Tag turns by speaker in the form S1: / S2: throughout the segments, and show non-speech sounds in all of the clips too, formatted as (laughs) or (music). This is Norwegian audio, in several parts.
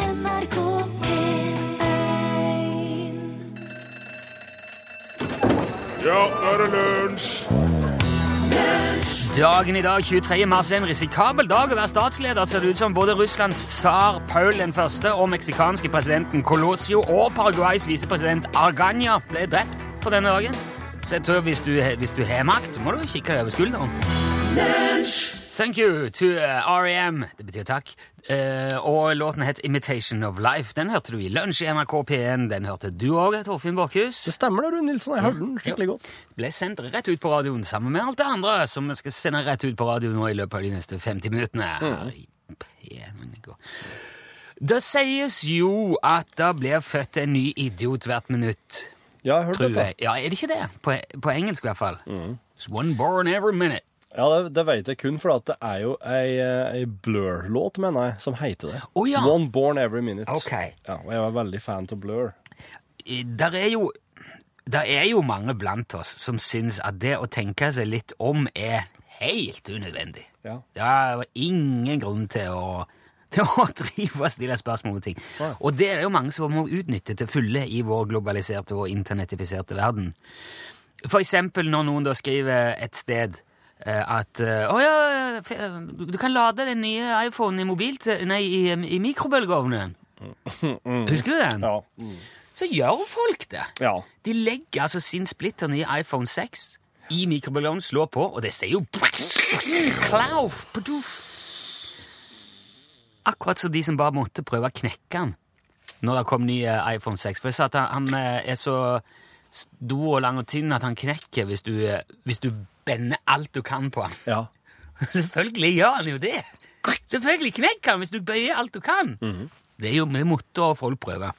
S1: NRK P1
S2: Ja, nå er det lunsj!
S3: Dagen i dag, 23. mars, er en risikabel dag å være statsleder, ser det ut som. Både Russlands tsar Paul 1. og meksikanske presidenten Colosio og Paraguays visepresident Argaña ble drept på denne dagen. Så jeg tror hvis du, hvis du har makt, må du kikke over skulderen. Thank you to eh, R.E.M. Det betyr takk. Eh, og låten het Imitation of Life. Den hørte du i Lunsj i NRK P1. Den hørte du òg, Torfinn Borchhus.
S4: Det stemmer det, Rune Nilsson. Jeg hørte den skikkelig godt.
S3: ble sendt rett ut på radioen sammen med alt det andre som vi skal sende rett ut på radioen nå i løpet av de neste 50 minuttene.
S4: Mm.
S3: I P1 i går. Det sies jo at det blir født en ny idiot hvert minutt,
S4: Ja, jeg hørte
S3: tror jeg.
S4: dette. Mm.
S3: Ja, er det ikke det? På, på engelsk i hvert fall. It's one born every minute.
S4: Ja, det, det vet jeg kun, for at det er jo ei, eh, ei Blur-låt, mener jeg, som heter det.
S3: Å, ja.
S4: One Born Every Minute.
S3: Ok.
S4: Ja, og jeg var veldig fan av Blur.
S3: I- Der er jo... Der er jo mange blant oss som syns at det å tenke seg litt om er helt unødvendig.
S4: Ja.
S3: Ja, det var ingen grunn til å, til å (laughs) drive og stille spørsmål om ting.
S4: Nei.
S3: Og det er det jo mange som må utnytte til fulle i vår globaliserte og internettifiserte verden. For eksempel når noen da skriver et sted eh, at eh, Å ja, f- eh, du kan lade den nye iPhonen i mobil til, Nei, i, i mikrobølgeovnen. Husker du den?
S4: Ja.
S3: Så gjør folk det.
S4: ja.
S3: De legger altså sin splitter nye iPhone 6 i mikrobølgeovnen, slår på, og det sier jo Klauf! Paduff! Akkurat som de som bare måtte prøve å knekke den når det kom ny eh, iPhone 6. For jeg sa at han, han eh, er så stor og lang og tynn at han knekker hvis du, eh, hvis du bender alt du kan på han. (laughs)
S4: ja.
S3: Selvfølgelig gjør han jo det! Selvfølgelig knekker han hvis du bøyer alt du kan! Det er jo vi måtte og folk prøve.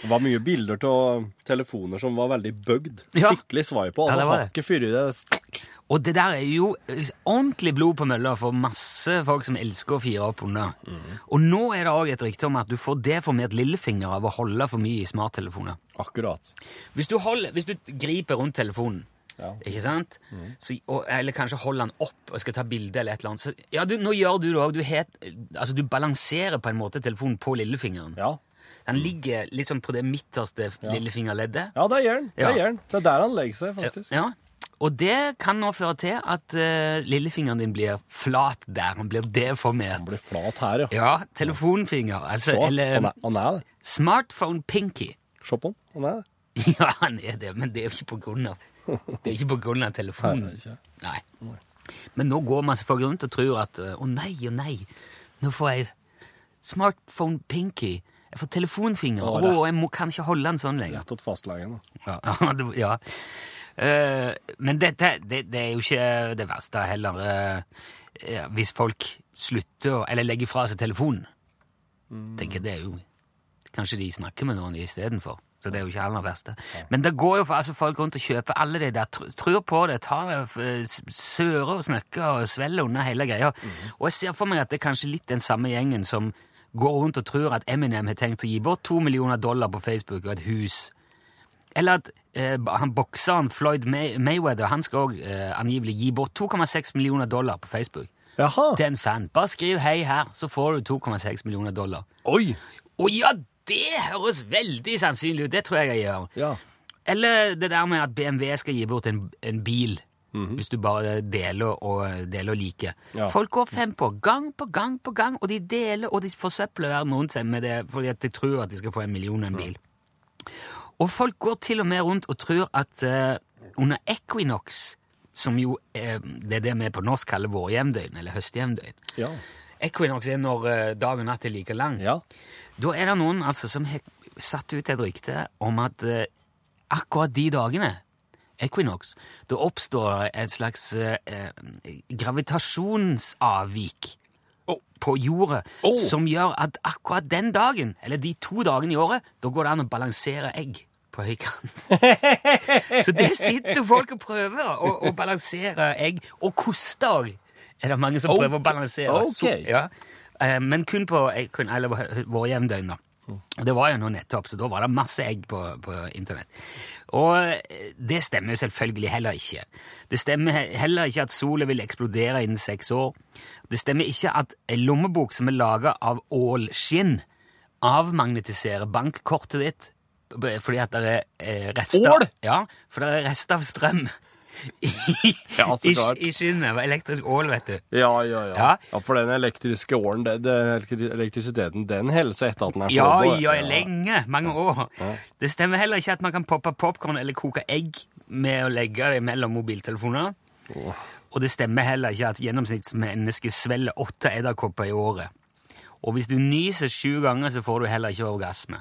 S4: Det var mye bilder av telefoner som var veldig bøgd.
S3: Ja.
S4: Skikkelig svai på.
S3: Ja,
S4: Altså,
S3: det var det.
S4: hakket fyrer i det.
S3: Og det der er jo eh, ordentlig blod på mølla for masse folk som elsker å fire opp under.
S4: Mhm.
S3: Og nå er det òg et rykte om at du får deformert lillefinger av å holde for mye i smarttelefoner.
S4: Akkurat.
S3: Hvis du, holder, hvis du griper rundt telefonen,
S4: Ja. Mhm.
S3: ikke sant? Så, og, eller kanskje holder den opp og skal ta bilde eller et eller annet, så ja, du, nå gjør du det òg. Du, het- altså, du balanserer på en måte telefonen på lillefingeren.
S4: Ja.
S3: Den ligger liksom på det midterste lillefingerleddet.
S4: ja, det gjør den. Det
S3: Ja.
S4: gjør den. Det er der han legger seg, faktisk.
S3: Ja, og det kan nå føre til at eh, lillefingeren din blir flat der, han blir
S4: Han
S3: deformert.
S4: blir flat her, ja.
S3: Ja, telefonfinger, altså,
S4: Så,
S3: eller
S4: han er- han er det.
S3: smartphone pinky. (laughs)
S4: Se på han. Han er det.
S3: Ja, han er det, men det er jo ikke på grunn av, det er jo ikke på grunn av telefonen.
S4: Nei, det er
S3: Nei. Men nå går man selvfølgelig rundt og tror at, eh, å nei, å nei, nå får jeg smartphone pinky, jeg får telefonfinger,
S4: Å,
S3: og
S4: det-
S3: jeg må, kan ikke holde den sånn lenger.
S4: Rett til fastlegen. da.
S3: Ja. (laughs) ja, det- ja. Eh, men dette det, det er jo ikke det verste heller. eh, eh, hvis folk slutter å Eller legger fra seg telefonen. Tenker det er jo Kanskje de snakker med noen istedenfor. Så det er jo ikke aller verste. Men det går jo for altså, folk rundt og kjøper alle de der. tr- Tror på det, tar det, f- s- sører og snakker og svelger unna hele greia. Og jeg ser for meg at det er kanskje litt den samme gjengen som går rundt og tror at Eminem har tenkt å gi bort to millioner dollar på Facebook og et hus. Eller at eh, han bokseren Floyd May Mayweather han skal òg eh, angivelig gi bort 2,6 millioner dollar på Facebook.
S4: Jaha.
S3: Til en fan. Bare skriv 'hei' her, så får du 2,6 millioner dollar.
S4: Oi!
S3: Å ja, det høres veldig sannsynlig ut! Det tror jeg jeg gjør.
S4: Ja.
S3: Eller det der med at BMW skal gi bort en, en bil. Hvis du bare deler og, deler og liker.
S4: Mhm. Ja.
S3: Folk går frem på gang på gang på gang, og de deler og de forsøpler verden rundt seg med det fordi at de tror at de skal få en million
S4: Mm.
S3: og en bil. Og folk går til og med rundt og tror at eh, under equinox, som jo eh, det er det vi på norsk kaller vårjevndøgn, eller høstjevndøgn
S4: Ja.
S3: Equinox er når eh, dag og natt er like lang.
S4: ja.
S3: Da er det noen altså, som har satt ut et rykte om at eh, akkurat de dagene, equinox, da oppstår det et slags eh, eh, gravitasjonsavvik på jordet
S4: Oh.
S3: som gjør at akkurat den dagen, eller de to dagene i året, da går det an å balansere egg på
S4: (laughs)
S3: høykant. Så det sitter folk og prøver å, å balansere egg, og koste òg. Er det mange som
S4: Ok,
S3: prøver å balansere?
S4: ok.
S3: Så- ja. Eh, Men kun på eh, kun, eller våre hjemdøgn, da.
S4: Mm.
S3: Og Det var jo nå nettopp, så da var det masse egg på, på internett. Og eh, det stemmer jo selvfølgelig heller ikke. Det stemmer he- heller ikke at sola vil eksplodere innen seks år. Det stemmer ikke at en lommebok som er laga av ålskinn, avmagnetisere bankkortet ditt b- fordi at det er eh, rester
S4: Ål?
S3: Ja, for det er rester av strøm (laughs) i,
S4: Ja, så
S3: i,
S4: klart.
S3: i skinnet. Det var Elektrisk ål, vet du.
S4: Ja, ja, ja.
S3: Ja.
S4: ja. for den elektriske åren, det, det, elektrisiteten, den holder seg etter at den er
S3: Ja,
S4: flådd,
S3: ja, lenge. Mange år. Det stemmer heller ikke at man kan poppe popkorn eller koke egg med å legge det mellom mobiltelefoner. Og det stemmer heller ikke at gjennomsnittsmennesket svelger åtte edderkopper i året. Og hvis du nyser sju ganger, så får du heller ikke
S4: (laughs)
S3: orgasme.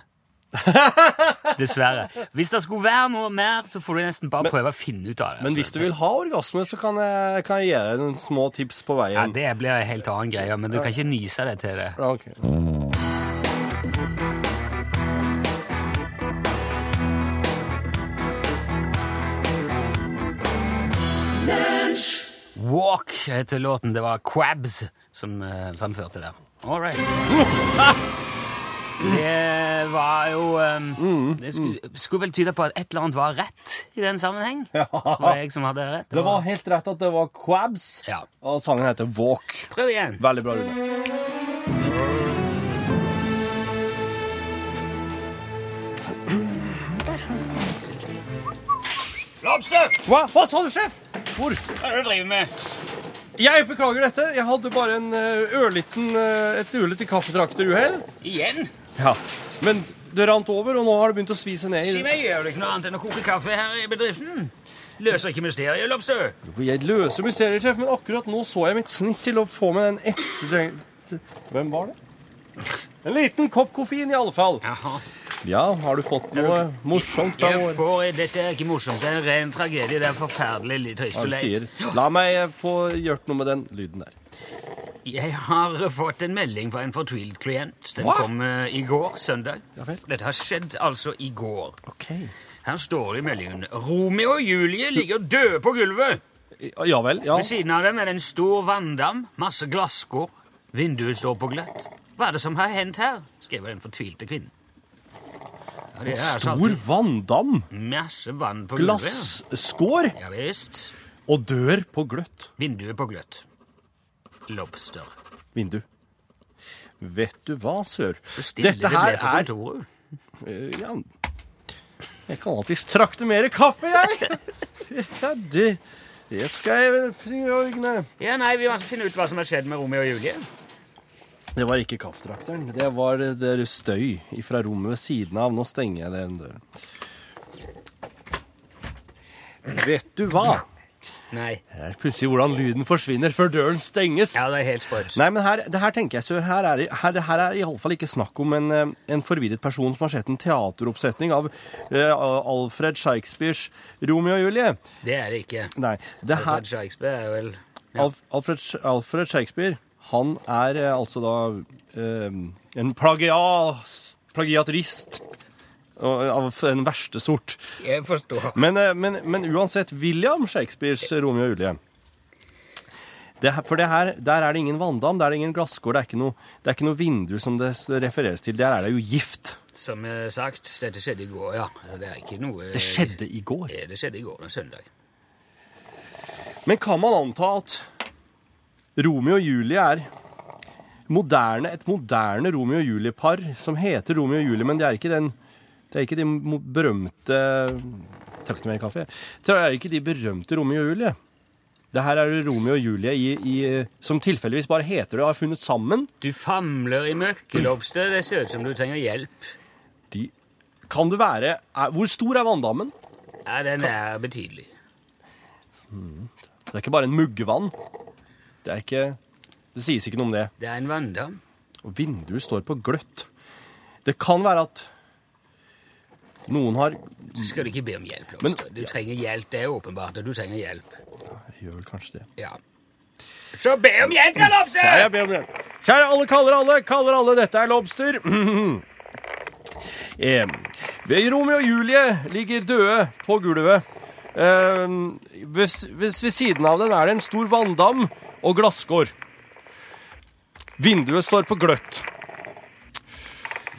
S3: Dessverre. Hvis det skulle være noe mer, så får du nesten bare prøve å finne ut av det.
S4: Men
S3: altså.
S4: hvis du vil ha orgasme, så kan jeg, kan jeg gi deg noen små tips på
S3: Ja,
S4: veien.
S3: Det blir en helt annen greie, men du kan ikke nyse deg til det.
S4: Ja, ok.
S3: Walk heter låten. Det var Quabs som eh, framførte der. All
S4: (laughs)
S3: right. Det var jo ehm,
S4: Mm.
S3: Det skulle, skulle vel tyde på at et eller annet var rett i den sammenheng.
S4: (laughs) Ja.
S3: Var det jeg som hadde rett?
S4: Det var helt rett at det var Quabs,
S3: Ja.
S4: og sangen heter Walk.
S3: Prøv igjen.
S4: Veldig bra, Rune.
S3: Lobster!
S4: Hva, hva sa du, sjef? Hvor?
S3: Hva er det du driver med?
S4: Jeg beklager dette. Jeg hadde bare en eh, ørliten, eh, et ørlite kaffetrakteruhell.
S3: Igjen?
S4: Ja. Men det rant over, og nå har det begynt å svise ned.
S3: Si
S4: i-
S3: meg, gjør du ikke noe annet enn å koke kaffe her i bedriften? Løser ikke mysteriet, Lobster.
S4: Jeg løser mysterier, sjef, men akkurat nå så jeg mitt snitt til å få med den etterdrengt... Hvem var det? En liten kopp koffein, i alle fall.
S3: Jaha.
S4: Ja, har du fått noe morsomt fra
S3: Jeg
S4: vår
S3: får, dette er ikke morsomt. Det er en ren tragedie. Det er forferdelig trist og
S4: Han sier
S3: leit.
S4: La meg eh, få gjort noe med den lyden der.
S3: Jeg har fått en melding fra en fortvilt klient. Den
S4: Hva?
S3: kom eh, i går, søndag.
S4: Ja vel.
S3: Dette har skjedd altså i går.
S4: Ok.
S3: Her står det i meldingen Romeo og Julie ligger døde på gulvet.
S4: Ja vel, ja.
S3: Ved siden av dem er det en stor vanndam, masse glasskår. Vinduet står på gløtt. Hva er det som har hendt her? skriver den fortvilte kvinnen. Ja, det er altså
S4: Stor
S3: alltid
S4: vanndam,
S3: masse vann på gulvet.
S4: glasskår
S3: Ja visst.
S4: og dør på gløtt
S3: Vinduet på gløtt. Lobster.
S4: vindu. Vet du hva, sør?
S3: Så stille det
S4: Dette her
S3: ble på
S4: er
S3: kontoret.
S4: Eh, Ja. Jeg kan alltids trakte mer kaffe, jeg. (laughs) Ja, det, det skal jeg vel finne i ordene.
S3: Ja, nei, Vi må altså finne ut hva som har skjedd med Romeo og Julie.
S4: Det var ikke kaffetrakteren. Det var eh, det der støy fra rommet ved siden av. Nå stenger jeg den døren. Vet du hva?
S3: Nei.
S4: Det er pussig hvordan lyden forsvinner før døren stenges.
S3: Ja, det er helt sprøtt.
S4: Nei, men her, det her tenker jeg, Sør, her er, her, det her er iallfall ikke snakk om en, eh, en forvirret person som har sett en teateroppsetning av eh, Alfred Shakespeares Romeo og Julie.
S3: Det er det ikke.
S4: Nei, det her
S3: Alfred Shakespeare er vel
S4: Alf, Alfred, Sh- Alfred Shakespeare, han er eh, altså da eh, en plagias, plagiatrist og- av den verste sort.
S3: Jeg forstår.
S4: Men, eh, men, men uansett, William Shakespeares Romeo og Julie det, her- for det her, Der er det ingen vanndam, der er det ingen glasskår, det er ikke noe, det er ikke noe vindu som det s- refereres til. Der er det jo gift.
S3: Som eh, sagt, dette skjedde i går, ja. Altså, Det er ikke noe
S4: Det skjedde i går.
S3: Ja, Det skjedde i går, en søndag.
S4: Men kan man anta at Romeo og Julie er moderne, et moderne Romeo og Julie-par som heter Romeo og Julie, men det er ikke den det er ikke de mo- berømte Takk til mer kaffe. Det er ikke de berømte Romeo og Julie. Det her er det Romeo og Julie i, i, som tilfeldigvis bare heter det og har funnet sammen.
S3: Du famler i mørket, Lobster. Det ser ut som du trenger hjelp.
S4: De, kan det være er, Hvor stor er vanndammen?
S3: Ja, den er betydelig.
S4: Det er ikke bare en muggevann. Det er ikke Det sies ikke noe om det.
S3: Det er en vanndam.
S4: Og vinduet står på gløtt. Det kan være at noen har
S3: Så skal du ikke be om hjelp,
S4: Men-
S3: Lobster. Du trenger hjelp, det er åpenbart. at Du trenger hjelp.
S4: Jeg gjør vel kanskje det.
S3: Ja. Så be om hjelp, da,
S4: Nei,
S3: Lobster!
S4: jeg ber om hjelp. Kjære alle kaller alle, kaller alle, dette er Lobster. (clears throat) eh, ved Romeo og Julie ligger døde på gulvet. Eh, ved, s- ved, s- ved siden av dem er det en stor vanndam og glasskår. Vinduet står på gløtt.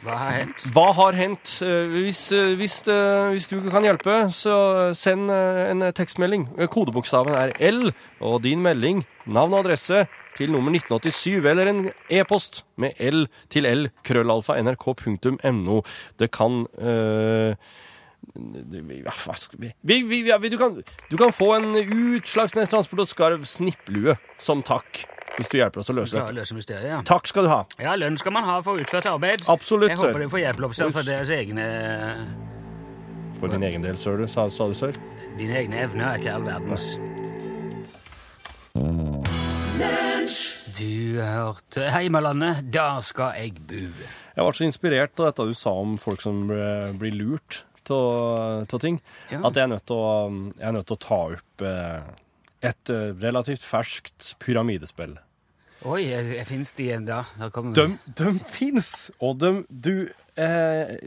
S3: Hva har hendt?
S4: Hva har hendt? Eh, Hvis, eh, hvis, eh, hvis du kan hjelpe, så send eh, en tekstmelding. Eh, Kodebokstaven er L, og din melding, navn og adresse til nummer 1987, eller en e-post med l til l krøllalfa nrk.no. Det kan eh, det- vi- ja, hva skal vi, vi, vi, ja, vi, du, kan, du kan få en Utslagsnes Transport og Skarv snipplue som takk, hvis du hjelper oss å løse
S3: Så
S4: dette.
S3: løser mysteriet, ja.
S4: Takk skal du ha.
S3: Ja, lønn skal man ha for utført arbeid.
S4: Absolutt,
S3: Jeg
S4: sir.
S3: håper de får hjelp også for deres egne
S4: For din egen del, sør du, sa, sa du, sør.
S3: Dine egne evner er ikke all verdens. Du hørte Heimelandet, der skal jeg bu.
S4: Jeg ble så inspirert av dette du sa om folk som eh, blir lurt av ting,
S3: Ja.
S4: at jeg er nødt til å, jeg er nødt til å ta opp eh, et eh, relativt ferskt pyramidespill.
S3: Oi, jeg, jeg finnes de igjen da. Der kommer
S4: De, de fins, og de du, eh,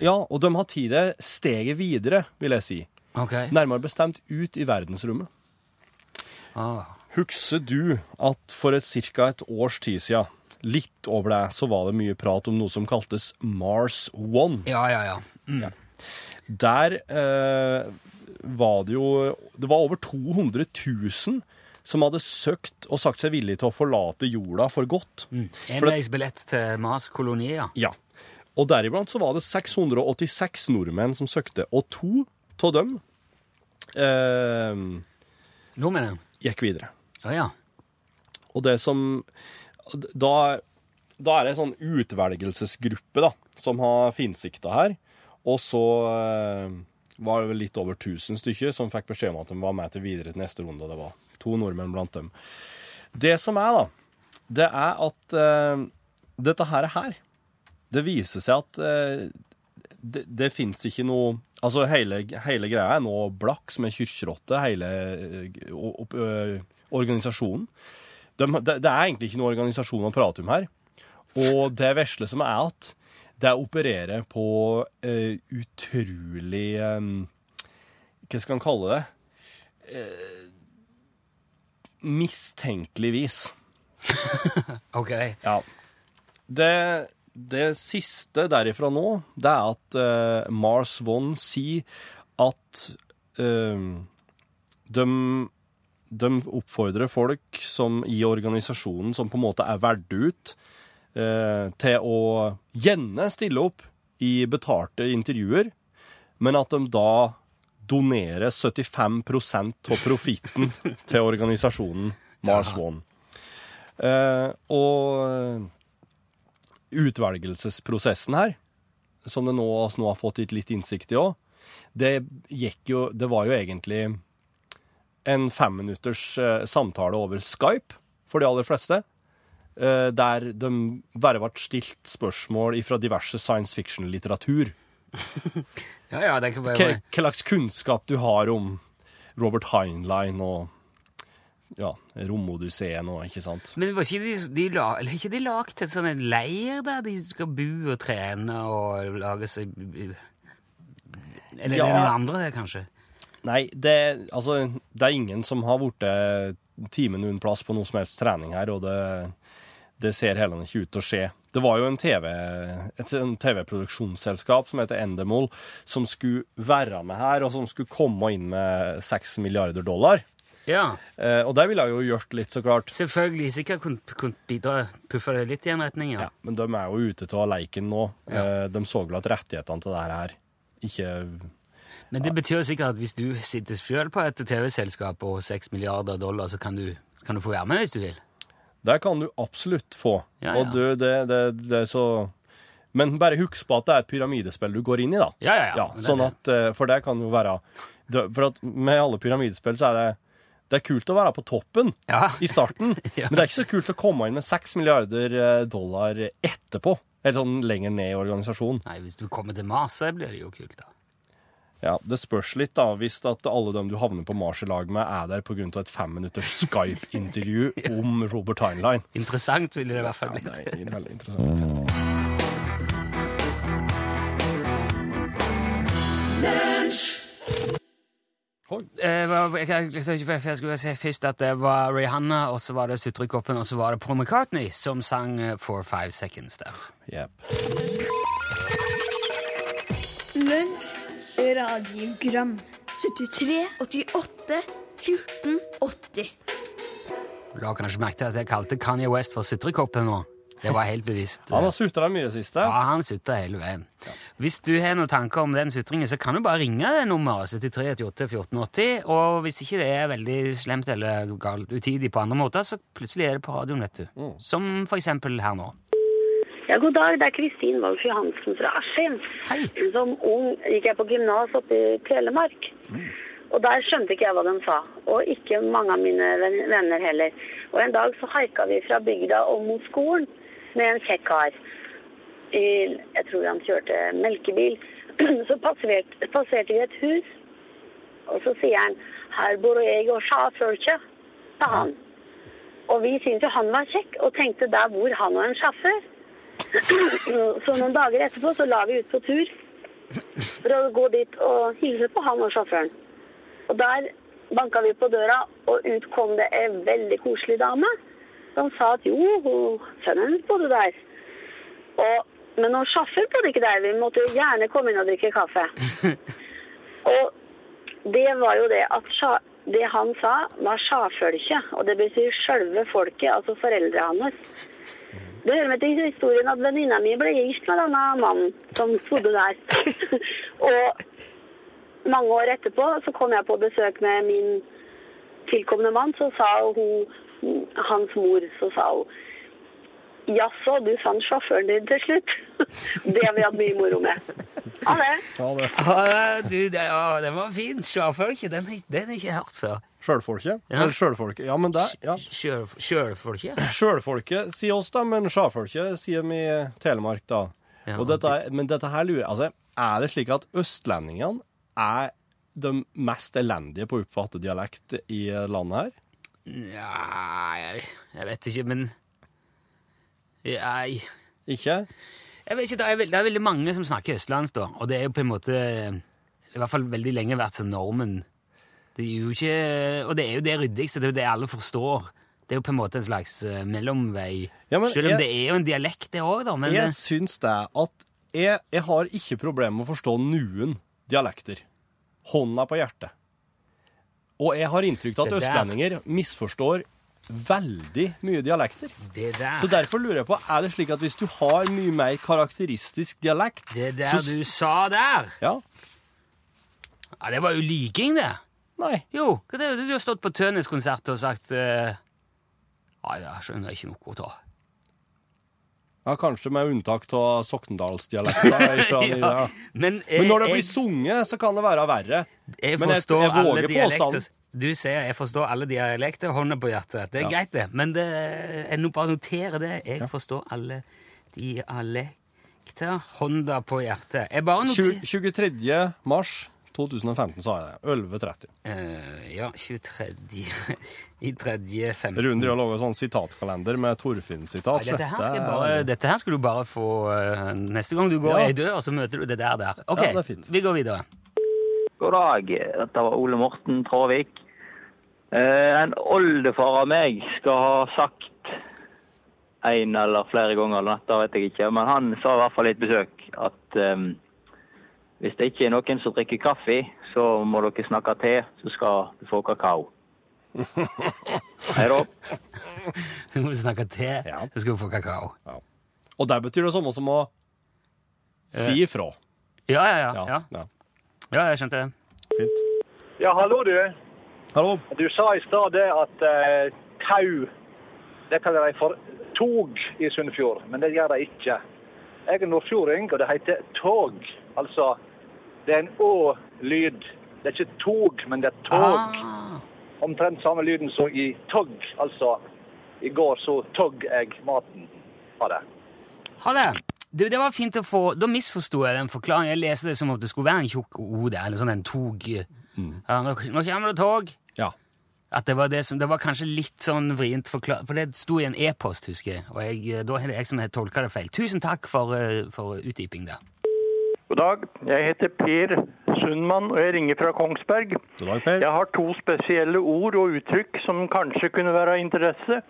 S4: Ja, og de har tatt det steget videre, vil jeg si.
S3: Ok.
S4: Nærmere bestemt ut i verdensrommet.
S3: Ah.
S4: Husker du at for et ca. et års tid siden, litt over det, så var det mye prat om noe som kaltes Mars One?
S3: Ja, ja, ja. Mm.
S4: Der eh, var det jo Det var over 200 000 som hadde søkt og sagt seg villig til å forlate jorda for godt.
S3: En
S4: For det-
S3: reisebillett Mm. til Mars kolonie, ja.
S4: Ja. Og deriblant så var det 686 nordmenn som søkte, og to av dem eh,
S3: Nordmennene.
S4: gikk videre.
S3: Å ja.
S4: Og det som Da, da er det en sånn utvelgelsesgruppe da, som har finsikta her. Og så eh, var det vel litt over 1000 stykker som fikk beskjed om at de var med til videre til neste runde. og Det var to nordmenn blant dem. Det som er, da, det er at eh, dette her, er her Det viser seg at eh, det, det fins ikke noe Altså, hele, hele greia er nå blakk som en kyrkjerotte, hele eh, opp, eh, organisasjonen. De, det, det er egentlig ikke noen organisasjon man prater om her. Og det vesle som er at det opererer på eh, utrolig eh, Hva skal man kalle det? Eh, mistenkelig vis.
S3: Ok.
S4: Ja. Det, det siste derifra nå, det er at eh, Mars One sier at eh, de, de oppfordrer folk som i organisasjonen som på en måte er verdt ut, eh, til å gjerne stille opp i betalte intervjuer, men at de da donerer 75 av profitten til organisasjonen Mars One. Eh, og eh, utvelgelsesprosessen her, som det nå, nå har fått litt, litt innsikt i òg, det gikk jo Det var jo egentlig en femminutters eh, samtale over Skype for de aller fleste. eh, der de bare ble stilt spørsmål fra diverse science fiction-litteratur.
S3: Ja, ja, det kan
S4: Hva
S3: bare...
S4: hva slags kunnskap du har om Robert Heinlein og ja, Romodysseen og ikke sant?
S3: Men var ikke de, de, la, eller ikke de lagt et sånn en leir der de skal bo og trene og lage seg Eller er det
S4: Ja.
S3: noen andre der, kanskje?
S4: Nei, det, altså, det er ingen som har blitt timen noen plass på noe som helst trening her, og det, det ser heller ikke ut til å skje. Det var jo en TV, et en TV-produksjonsselskap som heter Endemol, som skulle være med her, og som skulle komme inn med 6 milliarder dollar.
S3: Ja,
S4: Eh, og det ville jeg jo gjort litt, så klart.
S3: selvfølgelig. Sikkert kunne kunne bidra, puffe det litt i en retning, ja.
S4: Ja, men de er jo ute av leiken nå.
S3: Ja.
S4: Eh, de så vel at rettighetene til det her ikke
S3: Men det betyr jo sikkert at hvis du sitter selv på et TV-selskap og 6 milliarder dollar, så kan du, så kan du få være med hvis du vil.
S4: Det kan du absolutt få.
S3: Ja, ja.
S4: Og du, det, det, det er så Men bare husk på at det er et pyramidespill du går inn i, da.
S3: Ja, ja, ja. Men det er
S4: sånn
S3: det.
S4: at, eh, For det kan jo være det, For at med alle pyramidespill så er det det er kult å være på toppen
S3: Ja.
S4: i starten,
S3: (laughs) Ja.
S4: men det er ikke så kult å komme inn med 6 milliarder eh, dollar etterpå. Eller sånn lenger ned i organisasjonen.
S3: Nei, hvis du kommer til Mars, så blir det jo kult, da.
S4: Ja, Det spørs litt, da, hvis at alle dem du havner på Mars i lag med, er der pga. et femminutters
S3: (laughs)
S4: Skype-intervju om Robert Heinlein.
S3: Interessant ville det i hvert fall blitt.
S4: Nei, veldig interessant. Oi.
S3: Eh, hva- Jeg jeg- jeg- jeg- jeg skulle si først at det var Rihanna, og så var det Sutrekoppen, og så var det Paul McCartney som sang eh, Four Five Seconds der.
S4: Jepp.
S1: Lunsj, radiogram 73, 88, 14, 80
S3: La kanskje merke til at jeg kalte Kanye West for sutrekoppen nå. Det var helt bevisst.
S4: (laughs) Han har sutra mye i det siste.
S3: Ja, han sutrer hele veien. Hvis du har noen tanker om den sutringen, så kan du bare ringe det nummeret 73881480, og hvis ikke det er veldig slemt eller galt utidig på andre måter, så plutselig er det på radioen, vet du. Som for eksempel her nå.
S5: Ja, god dag. Det er Kristin Wolfsjø Hansen fra Askim.
S3: Hei.
S5: Som ung gikk jeg på gymnas oppe i Telemark. Og der skjønte ikke jeg hva de sa. Og ikke mange av mine ven- venner heller. Og en dag så haika vi fra bygda og mot skolen med en kjekk kar. I, jeg tror han kjørte melkebil. (clears throat) Så passerte, passerte vi et hus, og så sier han 'Her bor jeg og sjåførkje', sa han. Og vi syntes jo han var kjekk, og tenkte der bor han og en sjåfør. Så noen dager etterpå så la vi ut på tur for å gå dit og hilse på han og sjåføren. Og der banka vi på døra, og ut kom det ei veldig koselig dame som sa at jo, hun- sønnen hennes bodde der. Og, men noen sjåfør bodde ikke der, vi måtte jo gjerne komme inn og drikke kaffe. Og det var jo det at sja- det han sa var sjafølkje, og det betyr sjølve folket, altså foreldra hans. Det hører med til historien at venninna mi ble gift med denne mannen som bodde der. og mange år etterpå så kom jeg på besøk med min tilkommende mann, så sa hun, hans mor, så sa hun Jaså, du fant sjåføren din til slutt? (laughs) det har vi hatt mye moro med. Ha det.
S4: Ja, det
S3: Å, du, det, å, det var fint. Sjøfolket, den, har- den har jeg ikke hørt før.
S4: Sjølfolket.
S3: Ja.
S4: Eller sjølfolket. Ja, men der. Ja.
S3: Sjøl- Sjølfolket?
S4: Sjølfolket sier oss, da, men sjøfolket sier vi i Telemark, da.
S3: Ja,
S4: og dette er, men dette her lurer Altså, er det slik at østlendingene er de mest elendige på å oppfatte dialekt i landet her?
S3: Nja, jeg, jeg vet ikke, men Nei.
S4: Ikke?
S3: Jeg vet ikke, det er, veld, det er veldig mange som snakker østlands, da. Og det er jo på en måte I hvert fall veldig lenge vært sånn normen. Det er jo ikke, og det er jo det ryddigste, det er jo det alle forstår. Det er jo på en måte en slags eh, mellomvei.
S4: Ja, men
S3: Selv om
S4: jeg-
S3: det er jo en dialekt, det òg, da. Men
S4: Jeg syns det at jeg, jeg har ikke problemer med å forstå noen dialekter. Hånda på hjertet. Og jeg har inntrykk av at
S3: Det der.
S4: østlendinger misforstår veldig mye dialekter.
S3: eh, det der
S4: Så derfor lurer jeg på, er det slik at hvis du har mye mer karakteristisk dialekt,
S3: Det der
S4: så s-
S3: du sa der!
S4: Ja,
S3: Ja, Det var jo lyking, det!
S4: nei.
S3: Jo, hva det, du har stått på Tøneskonsert og sagt eh, Nei, det skjønner jeg ikke noe av.
S4: Ja, kanskje med unntak av
S3: (laughs)
S4: Sokndalsdialekta.
S3: Ja,
S4: ifra de
S3: Eh,
S4: der.
S3: Men, jeg,
S4: Men når det blir
S3: jeg,
S4: sunget, så kan det være verre.
S3: jeg
S4: men jeg-
S3: forstår
S4: jeg våger
S3: alle dialekter.
S4: påstanden.
S3: Du sier jeg forstår alle dialekter, hånda på hjertet. Det er
S4: Ja.
S3: greit, det. Men det, jeg nå bare noterer det. Jeg forstår alle dialekter. Hånda på hjertet. Jeg bare
S4: Tju-
S3: noterer
S4: 23. mars 2015, sa jeg det. 11.30.
S3: Eh, Ja, 23. i 3. 5.
S4: Rune driver og lager sånn sitatkalender med Torfinn-sitat.
S3: Dette her, skal jeg
S4: Dette er-
S3: bare, dette her skal du bare få eh, Neste gang du går
S4: Ja.
S3: i dør, så møter du det der der. Ok,
S4: Ja, det er fint.
S3: vi går videre. (laughs)
S6: God dag. Dette var Ole Morten Tråvik. Eh, en oldefar av meg skal ha sagt en eller flere ganger eller natta, vet jeg ikke, men han sa i hvert fall i et besøk at eh, hvis det ikke er noen som drikker kaffe, så må dere snakke te, så skal du få kakao. Hei da.
S3: Så må vi snakke te,
S4: Ja.
S3: så skal vi få kakao.
S4: Og der betyr det samme som å si ifra.
S3: Ja, ja, ja. Ja,
S4: Ja, ja.
S3: ja jeg skjønte det.
S4: Fint.
S7: Ja, hallo du.
S4: Hallo.
S7: Du sa i stad det at eh, tau Det kaller de for tog i Sunnfjord, men det gjør de ikke. Jeg er nordfjording, og det heter tog. Altså, det er en å-lyd. Det er ikke tog, men det er tog.
S3: Ah,
S7: Omtrent samme lyden som i tog. Altså, i går så tog jeg maten. Ha det.
S3: ha det. Du, det var fint å få Da misforsto jeg den forklaringen. Jeg leste det som om det skulle være en tjukk O der, eller sånn en tog.
S4: Mm.
S3: Ja, nå, nå kommer det tog.
S4: Ja.
S3: At det var, det, som, det var kanskje litt sånn vrient forklart, for det sto i en e-post, husker jeg. Og jeg, da er det jeg som har tolka det feil. Tusen takk for, eh, for utdyping der.
S8: God dag. Jeg heter Per Sundmann, og jeg ringer fra Kongsberg.
S4: God dag, Per.
S8: Jeg har to spesielle ord og uttrykk som kanskje kunne være av interesse.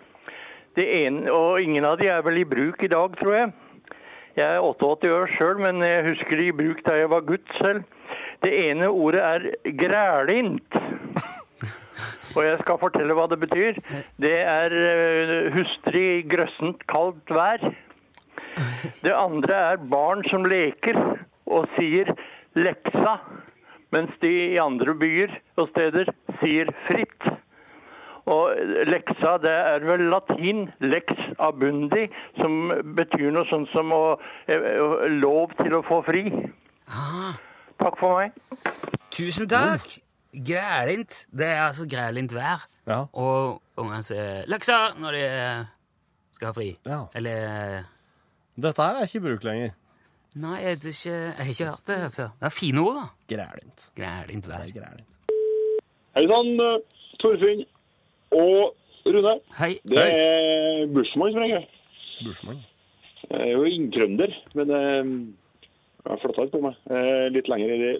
S8: Det ene, og ingen av de er vel i bruk i dag, tror jeg. Jeg er 88 år sjøl, men jeg husker de i bruk da jeg var gutt selv. Det ene ordet er grælint. Og Og jeg skal fortelle hva det betyr. Det er eh, hustrig, grøssent, kaldt vær. Det andre er barn som leker og sier 'leksa', mens de i andre byer og steder sier 'fritt'. Og leksa, det er vel latin 'lex abundi', som betyr noe sånt som å, eh, lov til å få fri.
S4: Ah.
S8: Takk for meg.
S3: Tusen takk! Grælint. Det er altså grælint vær.
S4: Ja.
S3: Og ungene sier lakser når de eh, skal ha fri.
S4: Ja.
S3: Eller eh,
S4: Dette her er ikke i bruk lenger.
S3: Nei, jeg, vet ikke, jeg har ikke hørt det før. Det er fine ord, da.
S4: Grælint.
S3: Grælint vær.
S4: Det er grælint.
S9: Hei sann, eh, Torfinn og Rune.
S3: Hei.
S9: Det er Bushman som ringer.
S4: Bursmann.
S9: Jeg er jo inntrønder, men eh, jeg har flytta litt på meg. Eh, Litt lenger i de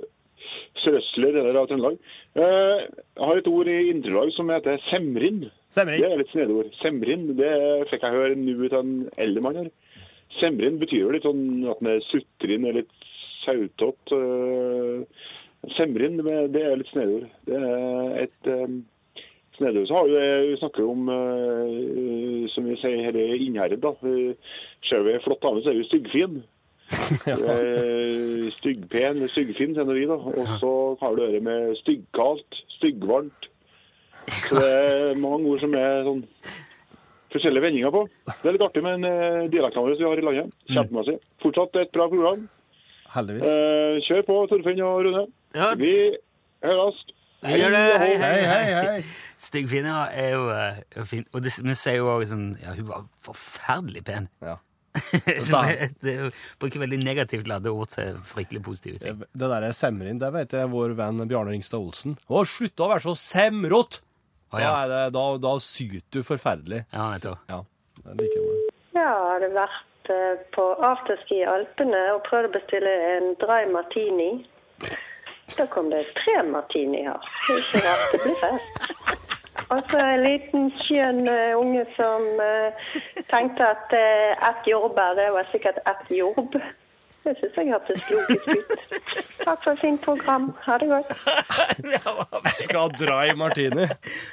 S9: sørøstlige deler av Trøndelag. Eh, Jeg har et ord i Indrelag som heter semrin.
S4: Stemmer
S9: Det
S4: ikke.
S9: er litt snedig ord. Semrin det fikk jeg høre nå ut av en eldre mann her. Semrin betyr jo litt sånn at den er sutrin og litt sautete. øh. Semrin det er litt snedig ord. Det er et um, snedig ord. Så har vi det vi snakker om, øh, som vi sier her i Innherred, da. Vi Ser vi ei flott dame, så er vi styggfin. Eh, Styggpen, styggfin, sier nå vi, da. Og så har du det med styggkaldt, styggvarmt. Så det er mange ord som er sånn forskjellige vendinger på. Det er litt artig med den eh, dialekten vår vi har i landet. Kjempemessig. Fortsatt et bra program.
S4: Heldigvis.
S9: Eh, kjør på, Torfinn og Rune.
S3: Ja.
S9: Vi høres.
S3: Vi gjør det. Hei, hei,
S4: Hei, hei,
S3: hei.
S4: hei.
S3: Stig Finne er jo eh, er fin. Og det, vi sier jo også sånn Ja, hun var forferdelig pen. (laughs)
S4: Ja.
S3: Så vi det er jo- bruker veldig negativt ladde ord til fryktelig positive ting.
S4: Det derre semrin, det vet jeg vår venn Bjarne Ringstad Olsen. Å, slutt å være så semrott!
S3: Å,
S4: Da,
S3: ja.
S4: er det, da, da syter du forferdelig.
S3: Ja,
S4: (laughs)
S3: nettopp.
S4: Ja, det liker jeg bare.
S10: Ja, jeg hadde vært eh, på afterski i Alpene og prøvd å bestille en dry martini. Da kom det tre martini her. Det er ikke rart det blir fest. Og så en liten, skjønn eh, unge som eh, tenkte at eh, ett jordbær, det var sikkert ett jordb. Det syns jeg hørtes logisk ut. Takk for et fint program. Ha det godt.
S3: Det var
S4: Jeg skal ha dry martini.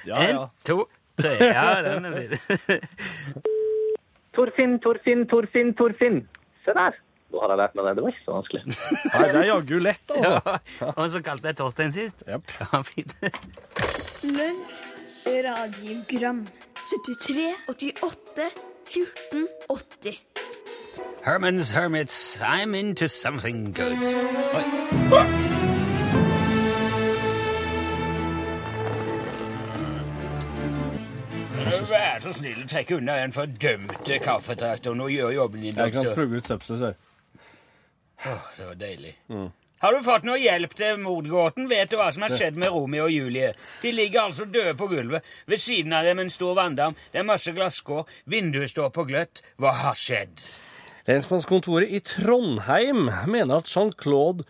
S4: Ja,
S3: En,
S4: ja.
S3: to, tre. Ja, den er fin.
S11: (laughs) Torfinn, Torfinn, Torfinn, Torfinn. Se der. Nå har jeg lært meg det. Det var ikke så vanskelig.
S4: Nei, det er jaggu lett, altså.
S3: Og så kalte jeg Torstein sist.
S4: Jep.
S3: (laughs) Ja, fint.
S1: Lunsj radiogram 73 88 14 80
S3: Hermans Hermits, I'm into something good. Oi. Vær så snill å trekke unna den fordømte kaffetraktoren og gjør jobben din.
S4: Jeg kan
S3: Doktor.
S4: prøve ut sepsis her.
S3: Åh, det var deilig. Har du fått noe hjelp til mordgåten? Vet du hva som har skjedd med Romeo og Julie? De ligger altså døde på gulvet. Ved siden av dem en stor vanndam. Det er masse glasskår. Vinduet står på gløtt. Hva har skjedd?
S4: Lensmannskontoret i Trondheim mener at Jean-Claude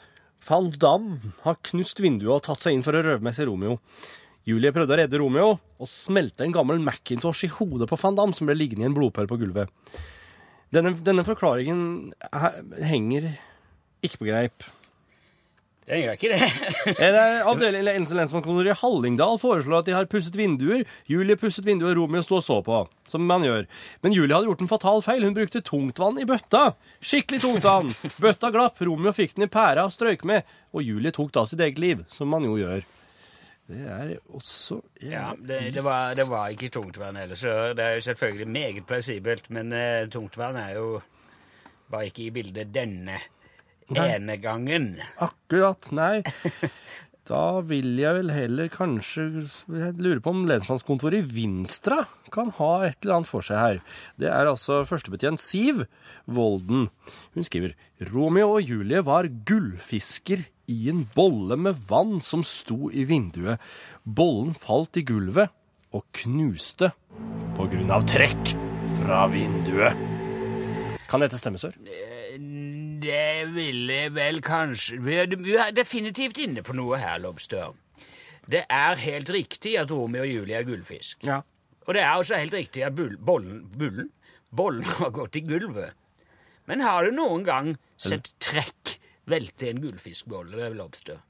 S4: van Damme har knust vinduet og tatt seg inn for å røve med seg Romeo. Julie prøvde å redde Romeo og smelte en gammel Macintosh i hodet på van Damme, som ble liggende i en blodpøl på gulvet. Denne, denne forklaringen her henger ikke på greip.
S3: Den gjør ikke
S4: (laughs)
S3: det.
S4: Eh, det er Avdeling Lens- lensmannskontoret i Hallingdal foreslår at de har pusset vinduer. Julie pusset vinduet, og Romeo sto og så på, som man gjør. Men Julie hadde gjort en fatal feil. Hun brukte tungtvann i bøtta. Skikkelig tungtvann. Bøtta glapp, Romeo fikk den i pæra og strøyk med. Og Julie tok da sitt eget liv, som man jo gjør. Det er også
S3: Ja, det, det, var, det var ikke tungtvann heller, så det er jo selvfølgelig meget plausibelt, men eh, tungtvann er jo bare ikke i bildet denne ene gangen.
S4: Akkurat, nei. Da vil jeg vel heller kanskje Jeg lurer på om lensmannskontoret i Vinstra kan ha et eller annet for seg her. Det er altså førstebetjent Siv Volden. Hun skriver Romeo og Julie var gullfisker i en bolle med vann som sto i vinduet. Bollen falt i gulvet og knuste på grunn av trekk fra vinduet. Kan dette stemme, sør?
S3: Det ville vel kanskje Vi er, vi er definitivt inne på noe her, Lobster. Det er helt riktig at Romeo og Julie er gullfisk.
S4: Ja.
S3: Og det er også helt riktig at bull, bollen, bullen, bollen (laughs) har gått i gulvet. Men har du noen gang sett trekk velte en gullfiskbolle, Lobster?